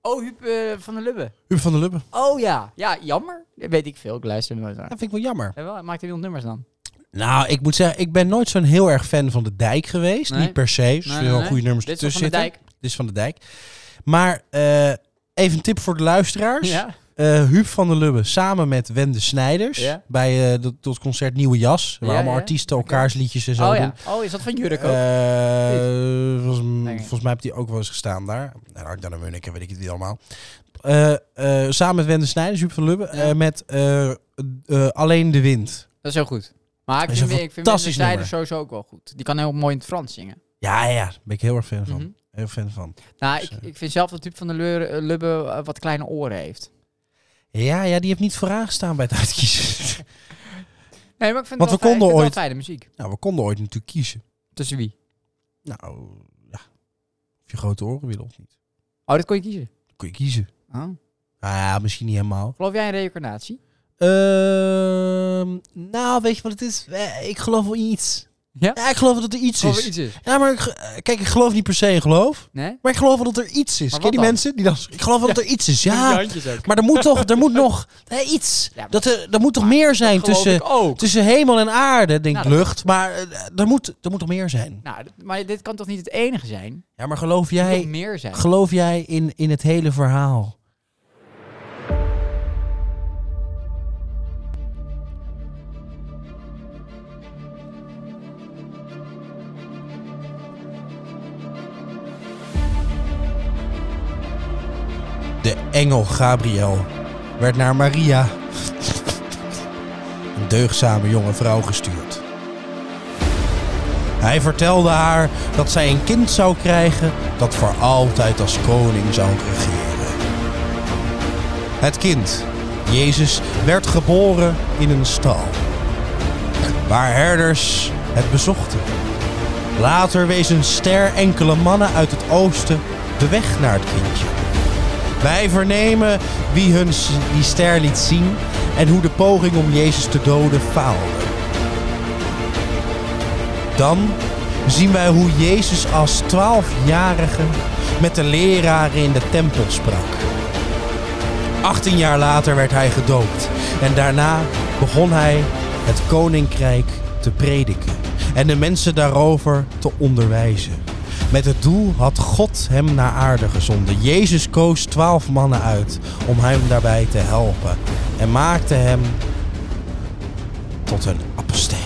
B: Oh, Huub eh, van der Lubbe.
A: Huub van der Lubbe.
B: Oh ja. Ja, jammer. Dat weet ik veel. Ik luister nooit naar.
A: Dat vind ik wel jammer.
B: Ja, wel, Maakt hij wel nummers dan?
A: Nou, ik moet zeggen, ik ben nooit zo'n heel erg fan van de dijk geweest.
B: Nee.
A: Niet per se. Er
B: Nee,
A: zijn
B: nee,
A: wel
B: nee.
A: goede nummers
B: Dit is wel
A: ertussen
B: van de
A: zitten.
B: dijk.
A: Dit is van de dijk. Maar eh, even een tip voor de luisteraars.
B: Ja.
A: Eh, Huub van der Lubbe samen met Wende Snijders.
B: Ja.
A: Bij eh, dat, dat concert Nieuwe Jas. Waar
B: Ja,
A: allemaal
B: ja.
A: artiesten elkaars liedjes en zo
B: Oh
A: doen.
B: ja. Oh, is dat van Jurk ook?
A: Eh, volgens,
B: ik.
A: volgens mij heeft hij ook wel eens gestaan daar. En Ark dan Munnik en weet ik het niet allemaal. Eh, eh, samen met Wende Snijders, Huub van Lubbe.
B: Ja.
A: eh, met eh, eh, Alleen de Wind.
B: Dat is heel goed. Maar ik
A: Dat is
B: vind,
A: een
B: ik vind
A: fantastisch
B: Wim de Zijde
A: nummer.
B: sowieso ook wel goed. Die kan heel mooi in het Frans zingen.
A: Ja, ja, daar ben ik heel erg fan van.
B: Mhm.
A: Heel fan van.
B: Nou,
A: Dus,
B: ik,
A: eh.
B: ik vind zelf dat Huub van der Leur- eh, Lubbe eh, wat kleine oren heeft.
A: Ja, ja, die heeft niet vooraan gestaan bij het uitkiezen.
B: Nee, maar ik vind
A: Want
B: het
A: we
B: wel fijn- ik vind
A: konden
B: het wel
A: ooit-
B: fijne muziek.
A: nou, we konden ooit natuurlijk kiezen.
B: Tussen wie?
A: Nou, ja. Of je grote oren wil of niet.
B: Oh, dat kon je kiezen.
A: Dan kun je kiezen.
B: Oh.
A: Nou ja, misschien niet helemaal.
B: Geloof jij in reïncarnatie?
A: Ehm, nou, weet je wat het is? Eh, Ik geloof wel in iets.
B: Ja?
A: Ja, ik geloof dat er iets
B: Geloof
A: is.
B: je iets is?
A: Ja, maar ik, ge- eh, kijk, ik geloof niet per se in geloof.
B: Nee?
A: Maar ik geloof wel dat er iets is.
B: Maar
A: Ken je die
B: wat dan?
A: mensen? Die dan, ik geloof wel dat er iets is,
B: Die
A: ja.
B: handjes ook.
A: Maar er moet toch, er moet nog eh, iets.
B: Ja, maar-
A: dat er, er moet toch meer zijn
B: Geloof ik
A: tussen,
B: ook.
A: tussen hemel en aarde, denk
B: Nou,
A: ik,
B: dat-
A: lucht. Maar eh, er, moet, er moet toch meer zijn.
B: Nou, d- maar dit kan toch niet het enige zijn?
A: Ja, maar geloof
B: Er moet
A: jij,
B: nog meer zijn.
A: geloof jij in, in het hele verhaal? De engel Gabriel werd naar Maria, een deugzame jonge vrouw, gestuurd. Hij vertelde haar dat zij een kind zou krijgen dat voor altijd als koning zou regeren. Het kind, Jezus, werd geboren in een stal. Waar herders het bezochten. Later wees een ster enkele mannen uit het oosten de weg naar het kindje. Wij vernemen wie hun s- die ster liet zien en hoe de poging om Jezus te doden faalde. Dan zien wij hoe Jezus als twaalfjarige met de leraren in de tempel sprak. 18 jaar later werd hij gedoopt en daarna begon hij het koninkrijk te prediken en de mensen daarover te onderwijzen. Met het doel had God hem naar aarde gezonden. Jezus koos twaalf mannen uit om hem daarbij te helpen. En maakte hem tot een apostel.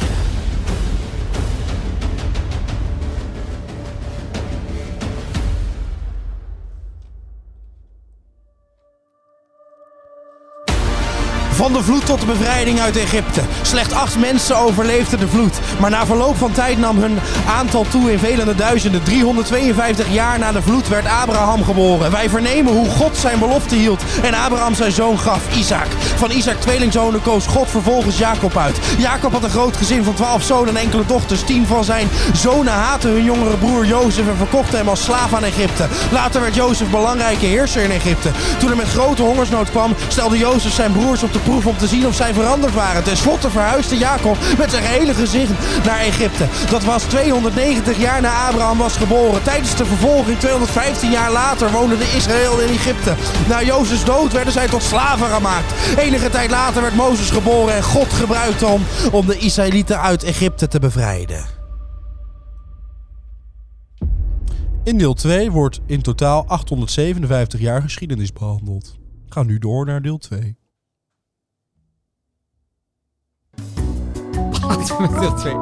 A: Van de vloed tot de bevrijding uit Egypte. Slechts acht mensen overleefden de vloed. Maar na verloop van tijd nam hun aantal toe in vele duizenden. 352 jaar na de vloed werd Abraham geboren. Wij vernemen hoe God zijn belofte hield en Abraham zijn zoon gaf, Isaac. Van Isaac tweelingzonen koos God vervolgens Jacob uit. Jacob had een groot gezin van 12 zonen en enkele dochters. Tien van zijn zonen haatten hun jongere broer Jozef en verkochten hem als slaaf aan Egypte. Later werd Jozef belangrijke heerser in Egypte. Toen er met grote hongersnood kwam, stelde Jozef zijn broers op de proef om te zien of zij veranderd waren. Ten slotte verhuisde Jacob met zijn hele gezin naar Egypte. Dat was 290 jaar na Abraham was geboren. Tijdens de vervolging, 215 jaar later, woonden de Israël in Egypte. Na Jozefs dood werden zij tot slaven gemaakt. Enige tijd later werd Mozes geboren en God gebruikte hem om de Israëlieten uit Egypte te bevrijden. In deel 2 wordt in totaal 857 jaar geschiedenis behandeld. Ga nu door naar deel 2.
B: Laten we met deel 2.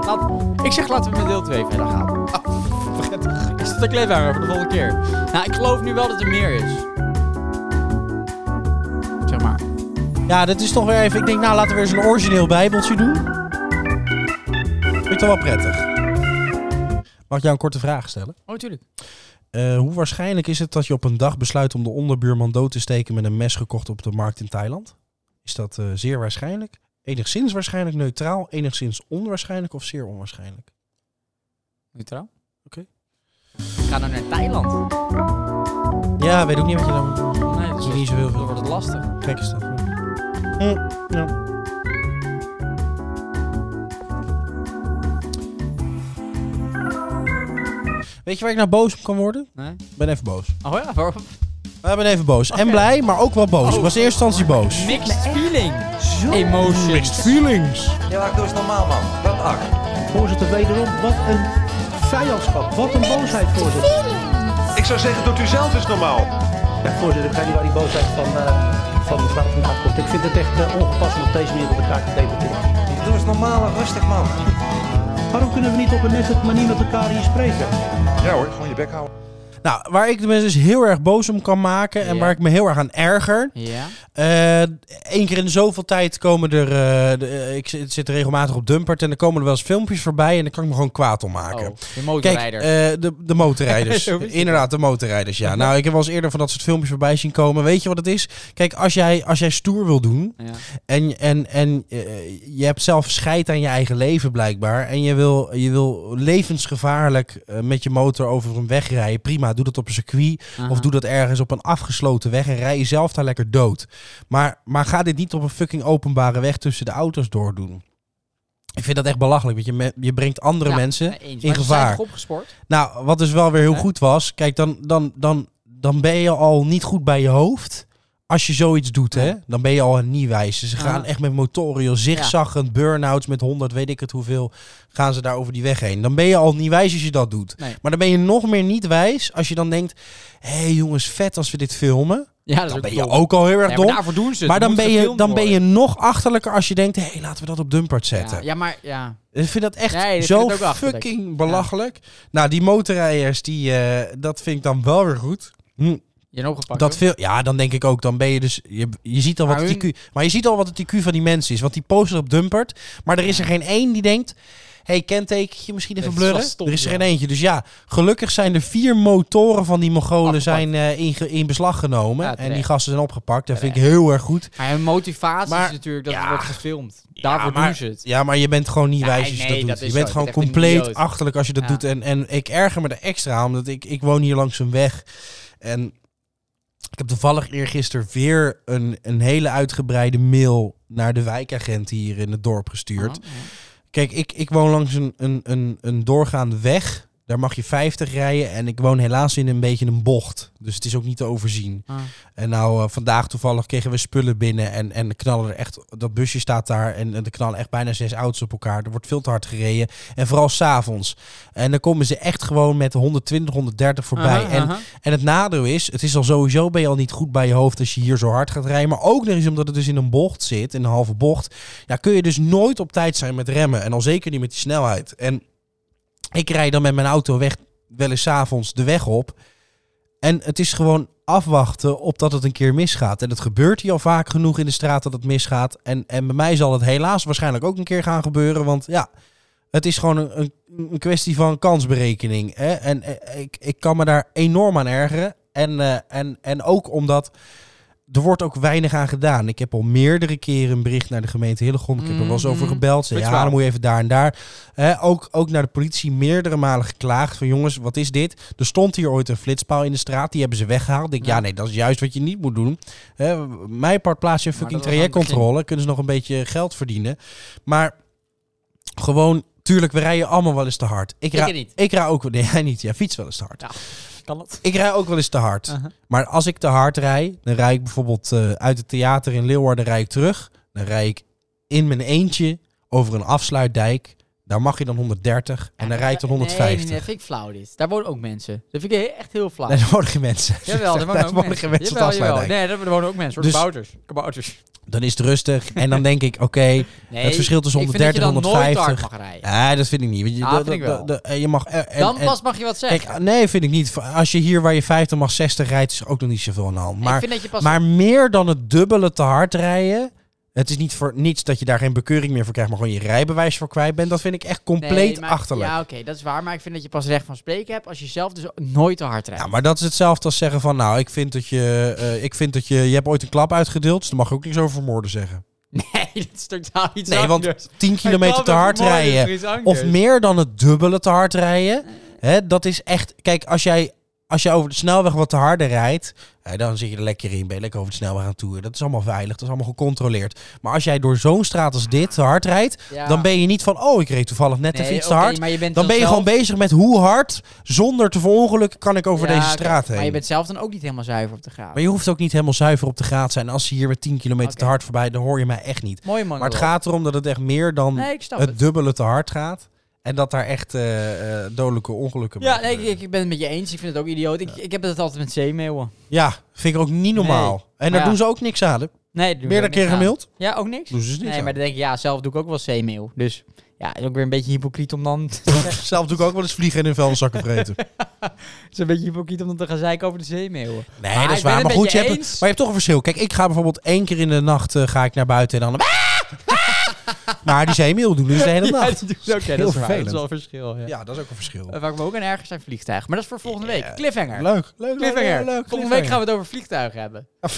B: ik zeg laten we met deel 2 verder gaan. Oh, Prettig. Is dat een cliffhanger voor de volgende keer? Nou, ik geloof nu wel dat er meer is. Zeg maar.
A: Ja, dat is toch weer even. Ik denk, nou laten we weer eens een origineel bijbeltje doen. Vind ik toch wel prettig. Mag ik jou een korte vraag stellen?
B: Oh, tuurlijk.
A: Eh, hoe waarschijnlijk is het dat je op een dag besluit om de onderbuurman dood te steken met een mes gekocht op de markt in Thailand? Is dat eh, zeer waarschijnlijk? Enigszins waarschijnlijk neutraal, enigszins onwaarschijnlijk of zeer onwaarschijnlijk?
B: Neutraal.
A: Oké.
B: Ik ga nou naar Thailand.
A: Ja, weet ook niet wat je dan...
B: Nee, dat
A: is niet zo heel veel.
B: Dan wordt het lastig.
A: Kijk eens dat. Hm, ja. Weet je waar ik nou boos op kan worden?
B: Nee?
A: Ik ben even boos.
B: Oh ja, waarom?
A: We ben even boos. En
B: Oké. Oh.
A: blij, maar ook wel boos. Ik was in eerste instantie boos.
B: Mixed feeling. Emotions.
A: feelings.
E: Ja, maar doe eens normaal, man. Wat ak.
D: Voorzitter, wederom, wat een vijandschap. Wat een boosheid, voorzitter.
C: Ik zou zeggen, doet u zelf eens normaal.
D: Ja, voorzitter, ik ga niet waar die boosheid van, eh, van mevrouw vandaan komt. Ik vind het echt eh, ongepast om op deze manier met elkaar te debatteren.
E: Doe eens normaal en rustig, man.
D: Waarom kunnen we niet op een nette manier met elkaar hier spreken?
C: Ja hoor, gewoon je bek houden.
A: Nou, waar ik de mensen dus heel erg boos om kan maken en
B: Ja.
A: waar ik me heel erg aan erger.
B: Ja.
A: Eén Eh, keer in de zoveel tijd komen er. eh, de- eh, ik zit, zit regelmatig op Dumpert en er komen er wel eens filmpjes voorbij en daar kan ik me gewoon kwaad om maken.
B: Oh, de
A: Kijk,
B: motorrijder.
A: eh, de, de motorrijders.
B: Zo is het.
A: Inderdaad, de motorrijders, ja. Nou, ik heb wel eens eerder van dat soort filmpjes voorbij zien komen. Weet je wat het is? Kijk, als jij, als jij stoer wil doen,
B: ja.
A: En, en, en eh, je hebt zelf scheid aan je eigen leven blijkbaar. En je wil, je wil levensgevaarlijk eh, met je motor over een weg rijden. Prima, doe dat op een circuit. Of
B: Aha.
A: doe dat ergens op een afgesloten weg. En rij jezelf daar lekker dood. Maar, maar ga dit niet op een fucking openbare weg tussen de auto's doordoen. Ik vind dat echt belachelijk. Want je, me- je brengt andere
B: Ja,
A: mensen
B: nee, eens.
A: in
B: Maar ze
A: gevaar.
B: zijn toch opgespoord?
A: Nou, wat dus wel weer heel
B: Hè?
A: goed was. Kijk, dan, dan, dan, dan ben je al niet goed bij je hoofd. Als je zoiets doet, hè, dan ben je al niet wijs. Ze gaan
B: Ah.
A: echt met motoren, joh, zigzaggend, burn-outs met 100, weet ik het hoeveel, gaan ze daar over die weg heen. Dan ben je al niet wijs als je dat doet.
B: Nee.
A: Maar dan ben je nog meer niet wijs als je dan denkt, hé hey jongens, vet als we dit filmen.
B: Ja, dat is
A: Dan
B: ook
A: ben je
B: dom.
A: ook al heel erg
B: Nee, maar
A: dom. Maar,
B: daarvoor doen ze het. Het
A: dan,
B: moet
A: ben je,
B: gefilmd
A: dan ben je
B: worden.
A: nog achterlijker als je denkt, hé, hey, laten we dat op Dumpert zetten.
B: Ja, ja, maar ja.
A: Ik vind dat echt
B: Nee, ik vind
A: zo
B: het ook achterlijk.
A: fucking belachelijk. Nou, die motorrijders, die, eh, dat vind ik dan wel weer goed. Hm,
B: Je hebt opgepakt.
A: dat
B: hoor.
A: veel, ja, dan denk ik ook, dan ben je dus... Je, je ziet al wat
B: Maar
A: het
B: hun-
A: IQ, maar je ziet al wat het IQ van die mensen is. Want die posten op Dumpert, maar er is er geen één die denkt... hey, kentekentje misschien even
B: Dat is wel
A: blurren.
B: stom,
A: er is er
B: ja.
A: geen eentje. Dus ja, gelukkig zijn er vier motoren van die Mongolen
B: Afgepakt.
A: zijn, eh, in, ge- in beslag genomen.
B: Ja,
A: en
B: terecht.
A: die gasten zijn opgepakt. Dat vind ik heel erg goed.
B: Maar hun motivatie
A: Maar-
B: is natuurlijk dat
A: ja.
B: het wordt gefilmd. Daarvoor
A: maar-
B: doen ze het.
A: Ja, maar je bent gewoon niet
B: Ja,
A: wijs als je
B: nee,
A: dat doet.
B: dat is
A: je bent
B: zo.
A: gewoon
B: Je bent echt een
A: compleet
B: idioot.
A: achterlijk als je dat
B: Ja.
A: doet. En, en ik erger me er extra aan, omdat ik, ik woon hier langs een weg. En ik heb toevallig eergisteren weer een, een hele uitgebreide mail naar de wijkagent hier in het dorp gestuurd.
B: Ah, ja.
A: Kijk, ik, ik woon langs een, een, een, een doorgaande weg. Daar mag je 50 rijden. En ik woon helaas in een beetje een bocht. Dus het is ook niet te overzien.
B: Ah.
A: En nou, eh, vandaag toevallig kregen we spullen binnen. En, en de knallen er echt. Dat busje staat daar. En, en er knallen echt bijna zes auto's op elkaar. Er wordt veel te hard gereden. En vooral s'avonds. En dan komen ze echt gewoon met 120, 130 voorbij.
B: Aha,
A: en,
B: aha.
A: en het nadeel is, het is al sowieso ben je al niet goed bij je hoofd als je hier zo hard gaat rijden. Maar ook nog eens omdat het dus in een bocht zit, in een halve bocht. Ja, kun je dus nooit op tijd zijn met remmen. En al zeker niet met die snelheid. En ik rijd dan met mijn auto weg, wel eens 's avonds de weg op. En het is gewoon afwachten op dat het een keer misgaat. En het gebeurt hier al vaak genoeg in de straat dat het misgaat. En, en bij mij zal het helaas waarschijnlijk ook een keer gaan gebeuren. Want ja, het is gewoon een, een, een kwestie van kansberekening. Hè? En eh, ik, ik kan me daar enorm aan ergeren. En, eh, en, en ook omdat er wordt ook weinig aan gedaan. Ik heb al meerdere keren een bericht naar de gemeente Hillegom. Ik heb er wel eens over
B: Mhm.
A: gebeld. Ze,
B: Weet je
A: ja,
B: wel.
A: dan moet je even daar en daar. Hè, ook, ook naar de politie meerdere malen geklaagd. Van jongens, wat is dit? Er stond hier ooit een flitspaal in de straat. Die hebben ze weggehaald. Ik denk, ja,
B: Ja.
A: nee, dat is juist wat je niet moet doen. Hè, mijn part plaats je een fucking
B: dat was aan het
A: trajectcontrole. Kunnen ze nog een beetje geld verdienen. Maar gewoon, tuurlijk, we rijden allemaal wel eens te hard. Ik,
B: Ik
A: ra-
B: niet.
A: Ik rij ook wel... Nee, jij niet. Jij fiets wel eens te hard.
B: Ja. Kan dat?
A: Ik rij ook wel eens te hard.
B: Aha.
A: Maar als ik te hard rij, dan rij ik bijvoorbeeld eh, uit het theater in Leeuwarden rij ik terug. Dan rij ik in mijn eentje over een afsluitdijk. Daar mag je dan 130 en dan rij ik dan
B: Nee, Nee,
A: 150.
B: nee, dat vind ik flauw dit. Daar wonen ook mensen. Dat vind ik echt heel flauw.
A: Nee, daar worden geen mensen.
B: Jawel, daar wonen
A: Daar
B: ook
A: wonen
B: mensen.
A: geen mensen op de
B: Jawel, jawel.
A: afsluitdijk.
B: Nee, daar wonen ook mensen.
A: Dus-
B: Dus... Kabouters. Kabouters.
A: Dan is het rustig en dan denk ik, oké,
B: Nee,
A: het verschil tussen
B: ik vind dat
A: 130 en
B: je dan nooit te hard
A: 150.
B: mag rijden.
A: Nee, dat vind ik niet. want je-
B: Ja,
A: dat-
B: vind ik wel.
A: dat- dat- eh, Je mag... en-
B: Dan
A: en-
B: pas mag je wat zeggen.
A: Kijk, nee, vind ik niet. Als je hier waar je 50 mag 60 rijdt, is er ook nog niet zoveel aan de hand.
B: ik
A: Maar,
B: vind dat je pas...
A: maar meer dan het dubbele te hard rijden. Het is niet voor niets dat je daar geen bekeuring meer voor krijgt, maar gewoon je rijbewijs voor kwijt bent. Dat vind ik echt
B: Nee,
A: compleet
B: maar-
A: achterlijk. Ja,
B: Ja, oké, dat is waar. Maar ik vind dat je pas recht van spreken hebt als je zelf dus nooit te hard rijdt.
A: maar dat is hetzelfde als zeggen van, nou, ik vind dat je, eh, ik vind dat je, je hebt ooit een klap uitgedeeld, dus daar mag je ook niks over vermoorden zeggen.
B: Nee, dat is totaal iets
A: Nee, want
B: anders.
A: 10 kilometer te hard
B: dus
A: rijden. Of meer dan het dubbele te hard rijden. Hè, dat is echt. Kijk, als jij, als jij over de snelweg wat te harder rijdt. Hè, dan zit je er lekker in. Ben je lekker over de snelweg aan toe. Dat is allemaal veilig. Dat is allemaal gecontroleerd. Maar als jij door zo'n straat als dit te hard rijdt.
B: Ja.
A: dan ben je niet van. Oh, ik reed toevallig net de
B: Nee,
A: fiets te
B: oké,
A: hard.
B: maar je bent
A: Dan ben je
B: zelf-
A: gewoon bezig met hoe hard. zonder te verongelukken kan ik over
B: Ja,
A: deze
B: oké,
A: straat heen.
B: Maar je bent zelf dan ook niet helemaal zuiver op de graad.
A: Maar je hoeft ook niet helemaal zuiver op de graad te zijn. Als ze hier met 10 kilometer te
B: Oké.
A: hard voorbij. dan hoor je mij echt niet.
B: Mooi man.
A: Maar het gaat erom dat het echt meer dan
B: Nee, ik snap
A: het,
B: het.
A: dubbele te hard gaat. En dat daar echt eh, eh, dodelijke ongelukken
B: Ja,
A: mee
B: nee, ik,
A: gebeuren.
B: ik ben het met je eens. Ik vind het ook idioot. Ik, ik heb het altijd met zeemeeuwen.
A: Ja, vind ik ook niet normaal. En daar
B: ja.
A: doen ze ook niks aan. hè?
B: Nee, dat doe ik ook
A: Meerdere
B: niks
A: keren
B: aan.
A: gemaild.
B: Ja, ook niks?
A: Doen ze dus niks
B: nee,
A: aan.
B: maar dan denk ik, ja, zelf doe ik ook wel zeemeeuw. Dus ja, is ook weer een beetje hypocriet om dan... Het
A: Zelf doe ik ook wel eens vliegen en in vuilniszakken vreten.
B: is een beetje hypocriet om dan te gaan zeiken over de zeemeeuwen.
A: Nee,
B: Maar
A: dat is
B: ik ben
A: waar.
B: het
A: Maar
B: met
A: goed,
B: je
A: je hebt, een-
B: eens.
A: maar je hebt toch een verschil. Kijk, ik ga bijvoorbeeld één keer in de nacht eh, ga ik naar buiten en dan... Ah! Maar die zeemeel doen dus de hele
B: Ja,
A: nacht.
B: die doen ze ook. Oké,
A: Heel
B: dat is waar. Dat is
A: vervelend.
B: wel een verschil, ja.
A: Ja, dat is ook een verschil.
B: Eh, Waar ik me ook aan erger zijn vliegtuigen. Maar dat is voor volgende
A: Ja.
B: week. Cliffhanger.
A: Leuk, leuk, leuk,
B: Cliffhanger.
A: leuk, leuk.
B: Volgende week gaan we het over vliegtuigen hebben.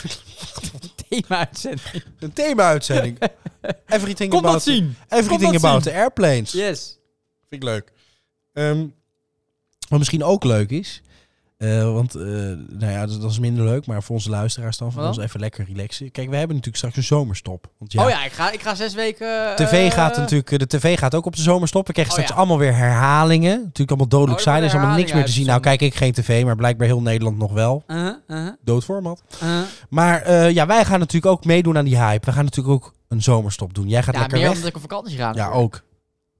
B: Thema-uitzending.
A: Een thema-uitzending. Everything
B: Kom dat
A: about,
B: zien.
A: everything
B: dat
A: about
B: zien.
A: the airplanes.
B: Yes.
A: Vind ik leuk. Ehm, wat misschien ook leuk is. eh, want eh, nou ja, dat, dat is minder leuk, maar voor onze luisteraars dan, voor
B: Wat
A: ons even lekker relaxen. Kijk, we hebben natuurlijk straks een zomerstop. Want ja,
B: Oh ja, ik ga, ik ga zes weken... eh,
A: TV gaat natuurlijk, eh, de tv gaat ook op de zomerstop. We krijgen
B: Oh
A: straks
B: ja.
A: allemaal weer herhalingen. Natuurlijk allemaal
B: Oh,
A: dodelijk
B: er
A: saai, er is
B: worden
A: allemaal niks meer te zien. Nou
B: herhalingen
A: kijk ik geen tv, maar blijkbaar heel Nederland nog wel.
B: Uh-huh, uh-huh,
A: Doodformat.
B: uh-huh.
A: Maar eh, ja, wij gaan natuurlijk ook meedoen aan die hype. We gaan natuurlijk ook een zomerstop doen. Jij gaat
B: Ja,
A: lekker
B: meer
A: weg.
B: omdat ik op vakantie ga.
A: Ja,
B: natuurlijk.
A: ook.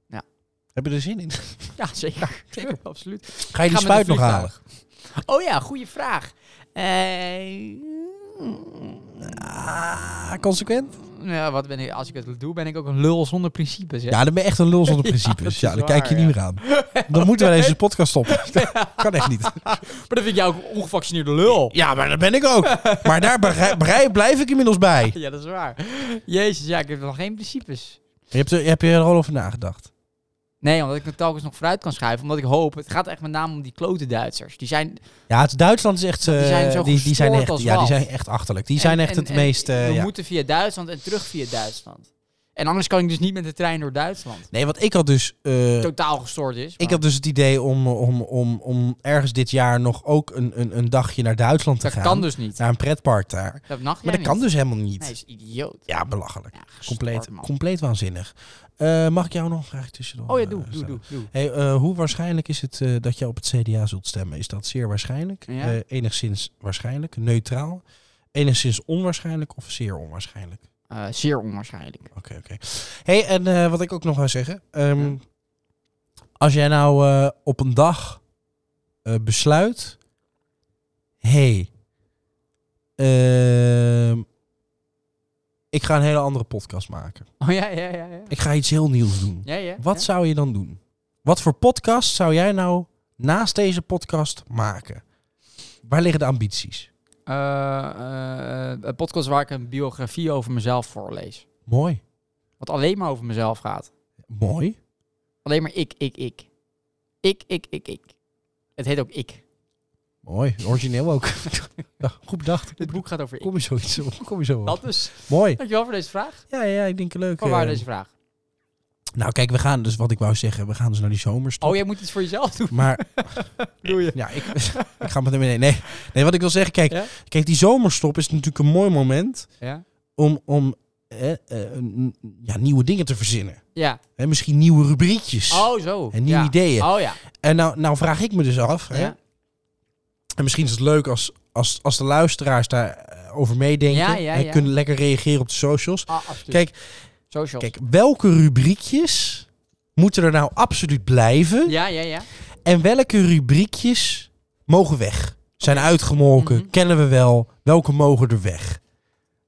B: Ja.
A: Heb je er zin in?
B: Ja, zeker. Zeker, absoluut.
A: Ga je die
B: Gaan we met
A: spuit
B: een
A: nog halen?
B: Oh ja, goede vraag. Eh,
A: Ah, consequent?
B: ja, wat ben ik, als ik het doe, ben ik ook een lul zonder principes. Hè?
A: Ja, dan ben je echt een lul zonder principes. Ja,
B: Ja,
A: dan
B: dat is
A: kijk je
B: waar,
A: niet meer aan. Dan moeten we deze podcast stoppen. kan echt niet.
B: Maar dan vind ik jou ook een ongevaccineerde lul.
A: Ja, maar dat ben ik ook. Maar daar berei- berei- blijf ik inmiddels bij.
B: Ja, dat is waar. Jezus, ja, ik heb nog geen principes.
A: Je hebt, er- heb je er al over nagedacht?
B: Nee, omdat ik het telkens nog vooruit kan schuiven. Omdat ik hoop, het gaat echt met name om die klote Duitsers. Die zijn,
A: Ja, het Duitsland is echt... eh,
B: zijn zo
A: die, die zijn
B: gestoord
A: echt,
B: als
A: ja, die
B: wal.
A: zijn echt achterlijk. Die zijn
B: en-
A: echt
B: en-
A: het
B: en
A: meest... eh,
B: we
A: ja.
B: moeten via Duitsland en terug via Duitsland. En anders kan ik dus niet met de trein door Duitsland.
A: Nee, want ik had dus... eh,
B: Totaal gestoord is.
A: ik had dus het idee om, om, om, om ergens dit jaar nog ook een, een, een dagje naar Duitsland te
B: dat
A: gaan.
B: kan dus niet.
A: Naar een pretpark daar.
B: Dat mag
A: maar dat
B: jij
A: kan
B: niet.
A: dus helemaal niet.
B: Nee, is idioot.
A: Ja, belachelijk.
B: Ja, gestoord,
A: compleet,
B: man.
A: compleet waanzinnig. Eh, mag ik jou nog een vraag tussendoor?
B: Oh ja,
A: eh,
B: doe, doe,
A: stellen?
B: doe, doe.
A: Hey, eh, hoe waarschijnlijk is het eh, dat jij op het CDA zult stemmen? Is dat zeer waarschijnlijk?
B: Ja.
A: Eh, enigszins waarschijnlijk? Neutraal? Enigszins onwaarschijnlijk of zeer onwaarschijnlijk?
B: Eh, zeer onwaarschijnlijk.
A: Oké, oké. Hey, en eh, wat ik ook nog wou zeggen. ehm, Als jij nou eh, op een dag eh, besluit... hey, ehm, ik ga een hele andere podcast maken.
B: Oh ja, ja, ja. ja.
A: Ik ga iets heel nieuws doen.
B: ja, ja
A: Wat
B: ja.
A: zou je dan doen? Wat voor podcast zou jij nou naast deze podcast maken? Waar liggen de ambities?
B: Eh, eh, eh, een podcast waar ik een biografie over mezelf voorlees.
A: Mooi.
B: Wat alleen maar over mezelf gaat.
A: Mooi.
B: Alleen maar ik, ik, ik. Ik, ik, ik, ik. Het heet ook ik.
A: Mooi. Origineel ook. ja, goed bedacht.
B: Dit boek gaat over ik.
A: Kom je zoiets op? Kom je zo op?
B: Dat dus.
A: Mooi.
B: Dankjewel voor deze vraag.
A: Ja, ja, ik denk leuk.
B: Van waar
A: eh.
B: deze vraag?
A: Nou, kijk, we gaan dus wat ik wou zeggen. We gaan dus naar die zomerstop.
B: Oh, jij moet iets voor jezelf doen.
A: Maar
B: Doe je?
A: ja, ik, ik ga met hem mee. Nee, nee, wat ik wil zeggen, kijk,
B: Ja?
A: kijk, die zomerstop is natuurlijk een mooi moment
B: Ja.
A: om, om eh, eh, n- ja, nieuwe dingen te verzinnen.
B: Ja.
A: Hè, misschien nieuwe rubriekjes.
B: Oh, zo.
A: En nieuwe
B: ja.
A: ideeën.
B: Oh ja.
A: En nou, nou vraag ik me dus af. Hè?
B: Ja.
A: En misschien is het leuk als, als, als de luisteraars daarover meedenken.
B: Ja, ja,
A: en
B: ja.
A: kunnen lekker reageren op de socials.
B: Ah, absoluut.
A: Kijk,
B: Socials.
A: kijk, welke rubriekjes moeten er nou absoluut blijven?
B: Ja, ja, ja.
A: En welke rubriekjes mogen weg? Zijn uitgemolken,
B: Mhm.
A: kennen we wel. Welke mogen er weg?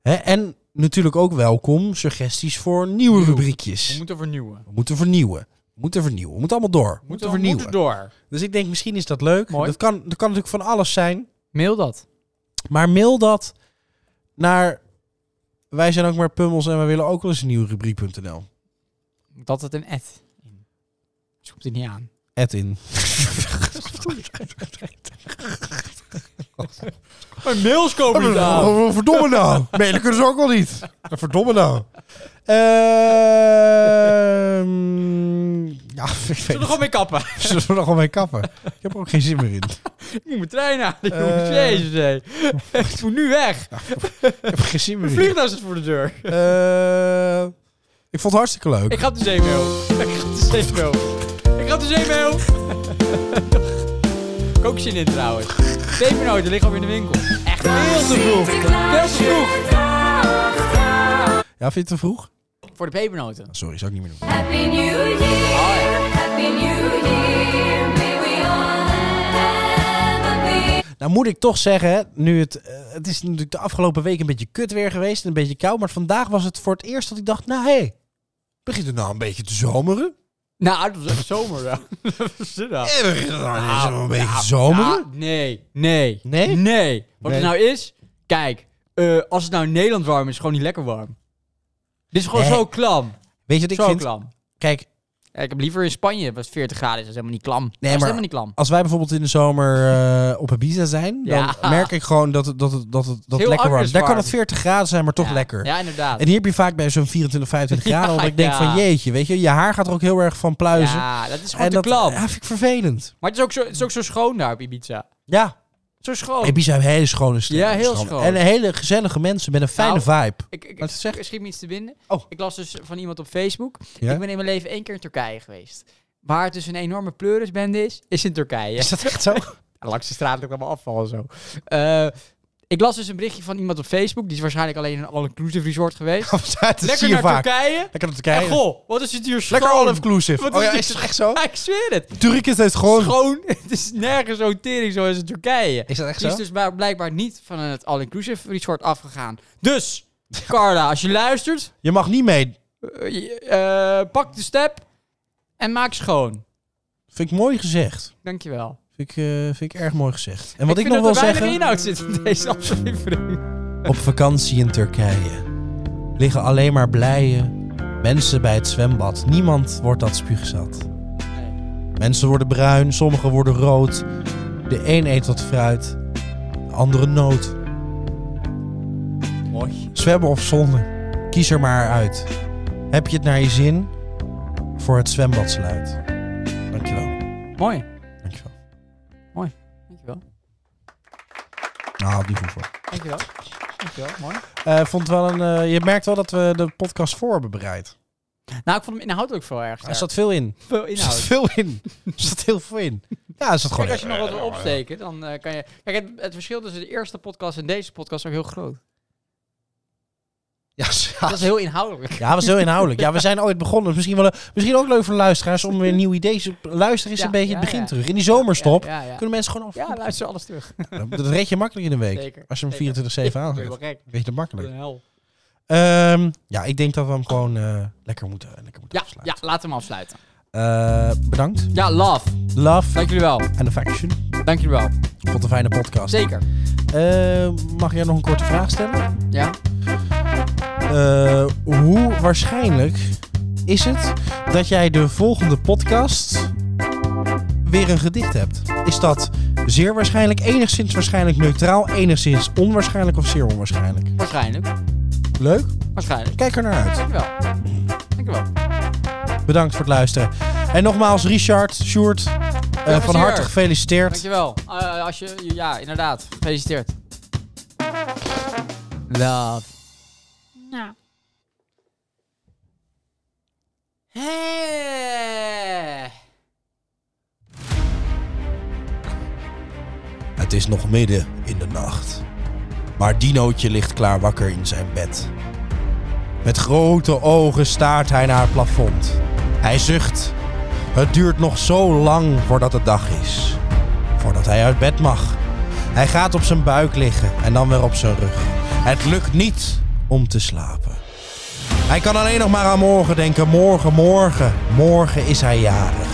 A: Hè? En natuurlijk ook welkom suggesties voor nieuwe
B: Nieuw.
A: rubriekjes.
B: We moeten vernieuwen.
A: We moeten vernieuwen. We moeten vernieuwen. We moeten allemaal door. We moeten
B: we
A: vernieuwen.
B: moeten door.
A: Dus ik denk, misschien is dat leuk.
B: Mooi.
A: Dat kan, dat kan natuurlijk van alles zijn.
B: Mail dat.
A: Maar mail dat naar... Wij zijn ook maar pummels en wij willen ook wel eens een nieuwe rubriek.nl.
B: Dat het een ad. Dus komt hij niet aan.
A: Add in.
B: Mijn mails komen niet aan.
A: Oh, verdomme nou. Mailen kunnen ze ook al niet. Verdomme nou. Ehm, ja, ik weet
B: Zullen we
A: het.
B: gewoon mee kappen?
A: Zullen we er gewoon mee kappen? Ik heb er ook geen zin meer in.
B: Ik moet mijn trein aan. jongens.
A: Eh.
B: Jezus, hé. Ik moet nu weg.
A: Ik heb er geen zin
B: Mijn
A: meer in.
B: vliegtuig zit voor de deur.
A: Eh, ik vond het hartstikke leuk.
B: Ik dus ga op de zeemeel. Ik ga op de zeemeel. Ik dus ga op de zeemeel. Ik heb ook zin in trouwens. Pepernoten liggen alweer in de winkel. Echt veel te vroeg. Veel te vroeg.
A: Ja, vind je het te vroeg? Nou,
B: Voor de pepernoten.
A: Sorry, zou ik niet meer doen.
G: Happy New Year. Happy New Year. May we all have a big
A: Nou moet ik toch zeggen, nu het, eh, het is natuurlijk de afgelopen week een beetje kut weer geweest en een beetje koud. Maar vandaag was het voor het eerst dat ik dacht, nou hé, hey, begint het nou een beetje te zomeren?
B: Nou, dat was echt zomer wel. Dat was er nou.
A: Eh, begint het nou ineens
B: Nou,
A: wel een beetje
B: ja,
A: te zomeren?
B: ja, nee, nee.
A: Nee?
B: Nee. Wat
A: Nee.
B: het nou is, kijk, eh, als het nou in Nederland warm is, is het gewoon niet lekker warm. Dit is gewoon
A: Nee.
B: zo klam.
A: Weet je wat ik
B: zo
A: vind?
B: klam.
A: Kijk,
B: Ja, ik heb liever in Spanje, was 40 graden, is dat is helemaal niet klam. Nee, dat
A: maar-
B: is helemaal niet klam.
A: als wij bijvoorbeeld in de zomer eh, op Ibiza zijn, dan
B: Ja.
A: merk ik gewoon dat het, dat het, dat het, dat het
B: heel
A: lekker warm
B: anders
A: is. Daar kan
B: warm.
A: het 40 graden zijn, maar toch
B: Ja.
A: lekker.
B: Ja, inderdaad.
A: En hier heb je vaak bij zo'n 24, 25
B: Ja,
A: graden, omdat ik denk
B: ja.
A: van jeetje, weet je, je haar gaat er ook heel erg van pluizen.
B: Ja, dat is gewoon
A: en
B: te
A: dat
B: klam.
A: ja, vind ik vervelend.
B: Maar het is, ook zo, het is ook zo schoon daar op Ibiza.
A: Ja,
B: Zo schoon.
A: Ibiza heeft hele schone stranden.
B: Oh. Ja, heel Nou.
A: stranden.
B: schoon.
A: En hele gezellige mensen met een fijne vibe.
B: ik, ik,
A: Wat
B: ik
A: zeg-
B: schiet me iets te binnen.
A: Oh.
B: Ik las dus van iemand op Facebook.
A: Ja?
B: Ik ben in mijn leven één keer in Turkije geweest. Waar het dus een enorme pleurisbende is, is in Turkije.
A: Is dat echt zo?
B: Langs de straat ligt allemaal afval en zo. Eh, ik las dus een berichtje van iemand op Facebook. Die is waarschijnlijk alleen in een all-inclusive resort geweest.
A: dat
B: Lekker
A: zie je
B: naar
A: vaak.
B: Turkije.
A: Lekker naar
B: En
A: Turkije.
B: goh, wat is het hier schoon.
A: Lekker all-inclusive.
B: Wat
A: Oh ja,
B: dit
A: is het echt zo?
B: Ja, ik zweer het.
A: Turkije heeft gewoon...
B: Schoon. Het is nergens zo'n tering zoals in Turkije.
A: Is dat echt
B: Die
A: zo?
B: is dus maar- blijkbaar niet van het all-inclusive resort afgegaan. Dus, Carla, als je luistert,
A: Je mag niet mee.
B: eh, je- eh, pak de step en maak schoon.
A: Vind ik mooi gezegd.
B: Dankjewel.
A: Vind ik, eh, vind ik erg mooi gezegd. En wat ik,
B: vind
A: nog wil
B: dat er
A: zeggen...
B: weinig inhoud zit in deze aflevering.
A: Op vakantie in Turkije liggen alleen maar blije mensen bij het zwembad. Niemand wordt dat spuugzat. Mensen worden bruin, sommigen worden rood. De een eet wat fruit, de andere noot.
B: Mooi.
A: Zwemmen of zonder, kies er maar uit. Heb je het naar je zin voor het zwembadsluit? Dankjewel.
B: Mooi.
A: Dankjewel.
B: Dankjewel.
A: Nou, die hoeven. we.
B: Dankjewel. Dankjewel. Mooi.
A: Eh, vond wel een, eh, je merkt wel dat we de podcast voor hebben bereid.
B: Nou, ik vond hem inhoudelijk veel erg
A: Er
B: sterk.
A: zat veel in.
B: veel
A: Er zat
B: inhoud.
A: veel in. Er zat heel veel in. Ja, er zat
B: Kijk,
A: gewoon
B: als je nog wat wil opsteken, dan eh, kan je... Kijk, het, het verschil tussen de eerste podcast en deze podcast is ook heel groot.
A: Ah. Ja,
B: Dat is heel inhoudelijk.
A: Ja, was heel inhoudelijk. Ja, we zijn ooit begonnen. Misschien, wel, misschien ook leuk voor de luisteraars om weer nieuw ideeën te... Luister eens
B: Ja,
A: een beetje
B: ja,
A: het begin
B: ja.
A: terug. In die zomerstop
B: Ja, ja, ja.
A: kunnen mensen gewoon af.
B: Ja, luister alles terug.
A: Dat red je makkelijk in een week.
B: Zeker.
A: Als je hem
B: Zeker.
A: 24-7
B: Dat is
A: aanzet.
B: wel gek.
A: Weet je dat
B: Wat een
A: makkelijk.
B: hel.
A: Ehm, ja, ik denk dat we hem gewoon eh, lekker moeten, lekker moeten
B: Oh. Ja, ja,
A: afsluiten.
B: laten we hem afsluiten.
A: Eh, bedankt.
B: Ja, love.
A: Love
B: Dank jullie wel.
A: and affection.
B: Dank jullie wel.
A: Ik vond het een fijne podcast.
B: Zeker.
A: Eh, mag jij nog een korte vraag stellen?
B: Ja.
A: Eh, hoe waarschijnlijk is het dat jij de volgende podcast weer een gedicht hebt? Is dat zeer waarschijnlijk, enigszins waarschijnlijk neutraal, enigszins onwaarschijnlijk of zeer onwaarschijnlijk?
B: Waarschijnlijk.
A: Leuk?
B: Waarschijnlijk.
A: Kijk er naar uit.
B: Dank je wel. Dank je wel.
A: Bedankt voor het luisteren. En nogmaals, Richard, Sjoerd, eh, van
B: plezier.
A: harte gefeliciteerd.
B: Dankjewel. Eh als je, ja, inderdaad. Gefeliciteerd. Love. Nou. Hey.
A: Het is nog midden in de nacht. Maar Dinootje ligt klaar wakker in zijn bed. Met grote ogen staart hij naar het plafond. Hij zucht. Het duurt nog zo lang voordat het dag is. Voordat hij uit bed mag. Hij gaat op zijn buik liggen en dan weer op zijn rug. Het lukt niet om te slapen. Hij kan alleen nog maar aan morgen denken. Morgen, morgen. Morgen is hij jarig.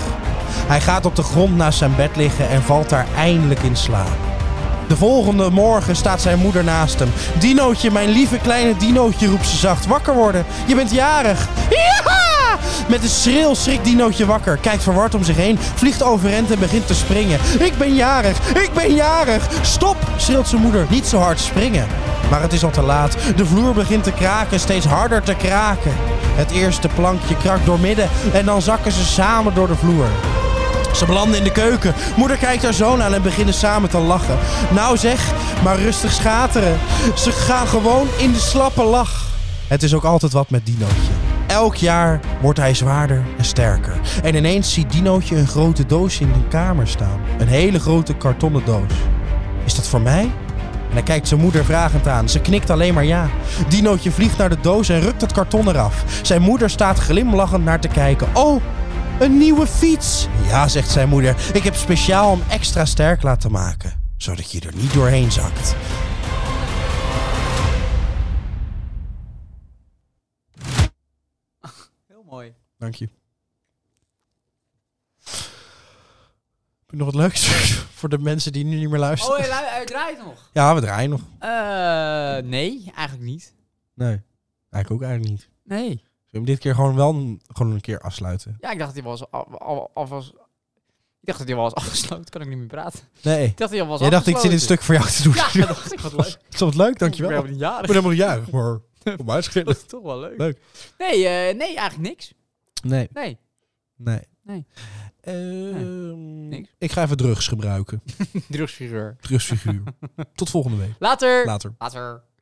A: Hij gaat op de grond naast zijn bed liggen en valt daar eindelijk in slaap. De volgende morgen staat zijn moeder naast hem. Dinootje, mijn lieve kleine Dinootje, roept ze zacht. Wakker worden, je bent jarig. Ja! Met een schreeuw schrikt Dinootje wakker, kijkt verward om zich heen, vliegt overend en begint te springen. Ik ben jarig, ik ben jarig. Stop, schreeuwt zijn moeder, niet zo hard springen. Maar het is al te laat. De vloer begint te kraken, steeds harder te kraken. Het eerste plankje krakt doormidden en dan zakken ze samen door de vloer. Ze belanden in de keuken. Moeder kijkt haar zoon aan en beginnen samen te lachen. Nou zeg, maar rustig schateren. Ze gaan gewoon in de slappe lach. Het is ook altijd wat met Dinootje. Elk jaar wordt hij zwaarder en sterker. En ineens ziet Dinootje een grote doos in de kamer staan. Een hele grote kartonnen doos. Is dat voor mij? En hij kijkt zijn moeder vragend aan. Ze knikt alleen maar ja. Dinootje vliegt naar de doos en rukt het karton eraf. Zijn moeder staat glimlachend naar te kijken. Oh, een nieuwe fiets! Ja, zegt zijn moeder. Ik heb speciaal hem extra sterk laten maken. Zodat je er niet doorheen zakt.
B: Heel mooi.
A: Dank je. Heb je nog wat leuks voor de mensen die nu niet meer luisteren?
B: Oh, hij, lui- hij draait nog.
A: Ja, we draaien nog.
B: Eh, nee, eigenlijk niet.
A: Nee, eigenlijk ook eigenlijk niet. Zullen
B: Nee.
A: we hem dit keer gewoon wel een, gewoon een keer afsluiten?
B: Ja, ik dacht dat hij was al, al, al was... Ik dacht dat hij al was afgesloten. Kan ik niet meer praten.
A: Nee.
B: Ik dacht dat hij al was
A: Jij dacht, ik zit dit
B: afgesloten.
A: stuk voor jou te doen.
B: Ja, dat dacht ik. Wat leuk.
A: Is dat leuk?
B: Ik
A: Dankjewel.
B: ben
A: Ik
B: helemaal niet jarig.
A: ben helemaal niet juich, maar... Op mij schillen.
B: Dat is toch wel leuk.
A: Leuk.
B: Nee, eh, nee, eigenlijk niks.
A: Nee.
B: Nee.
A: Nee.
B: Nee.
A: Ehm,
B: niks.
A: Ik ga even drugs gebruiken.
B: Drugsfiguur.
A: Drugsfiguur. Tot volgende week.
B: Later.
A: Later.
B: Later.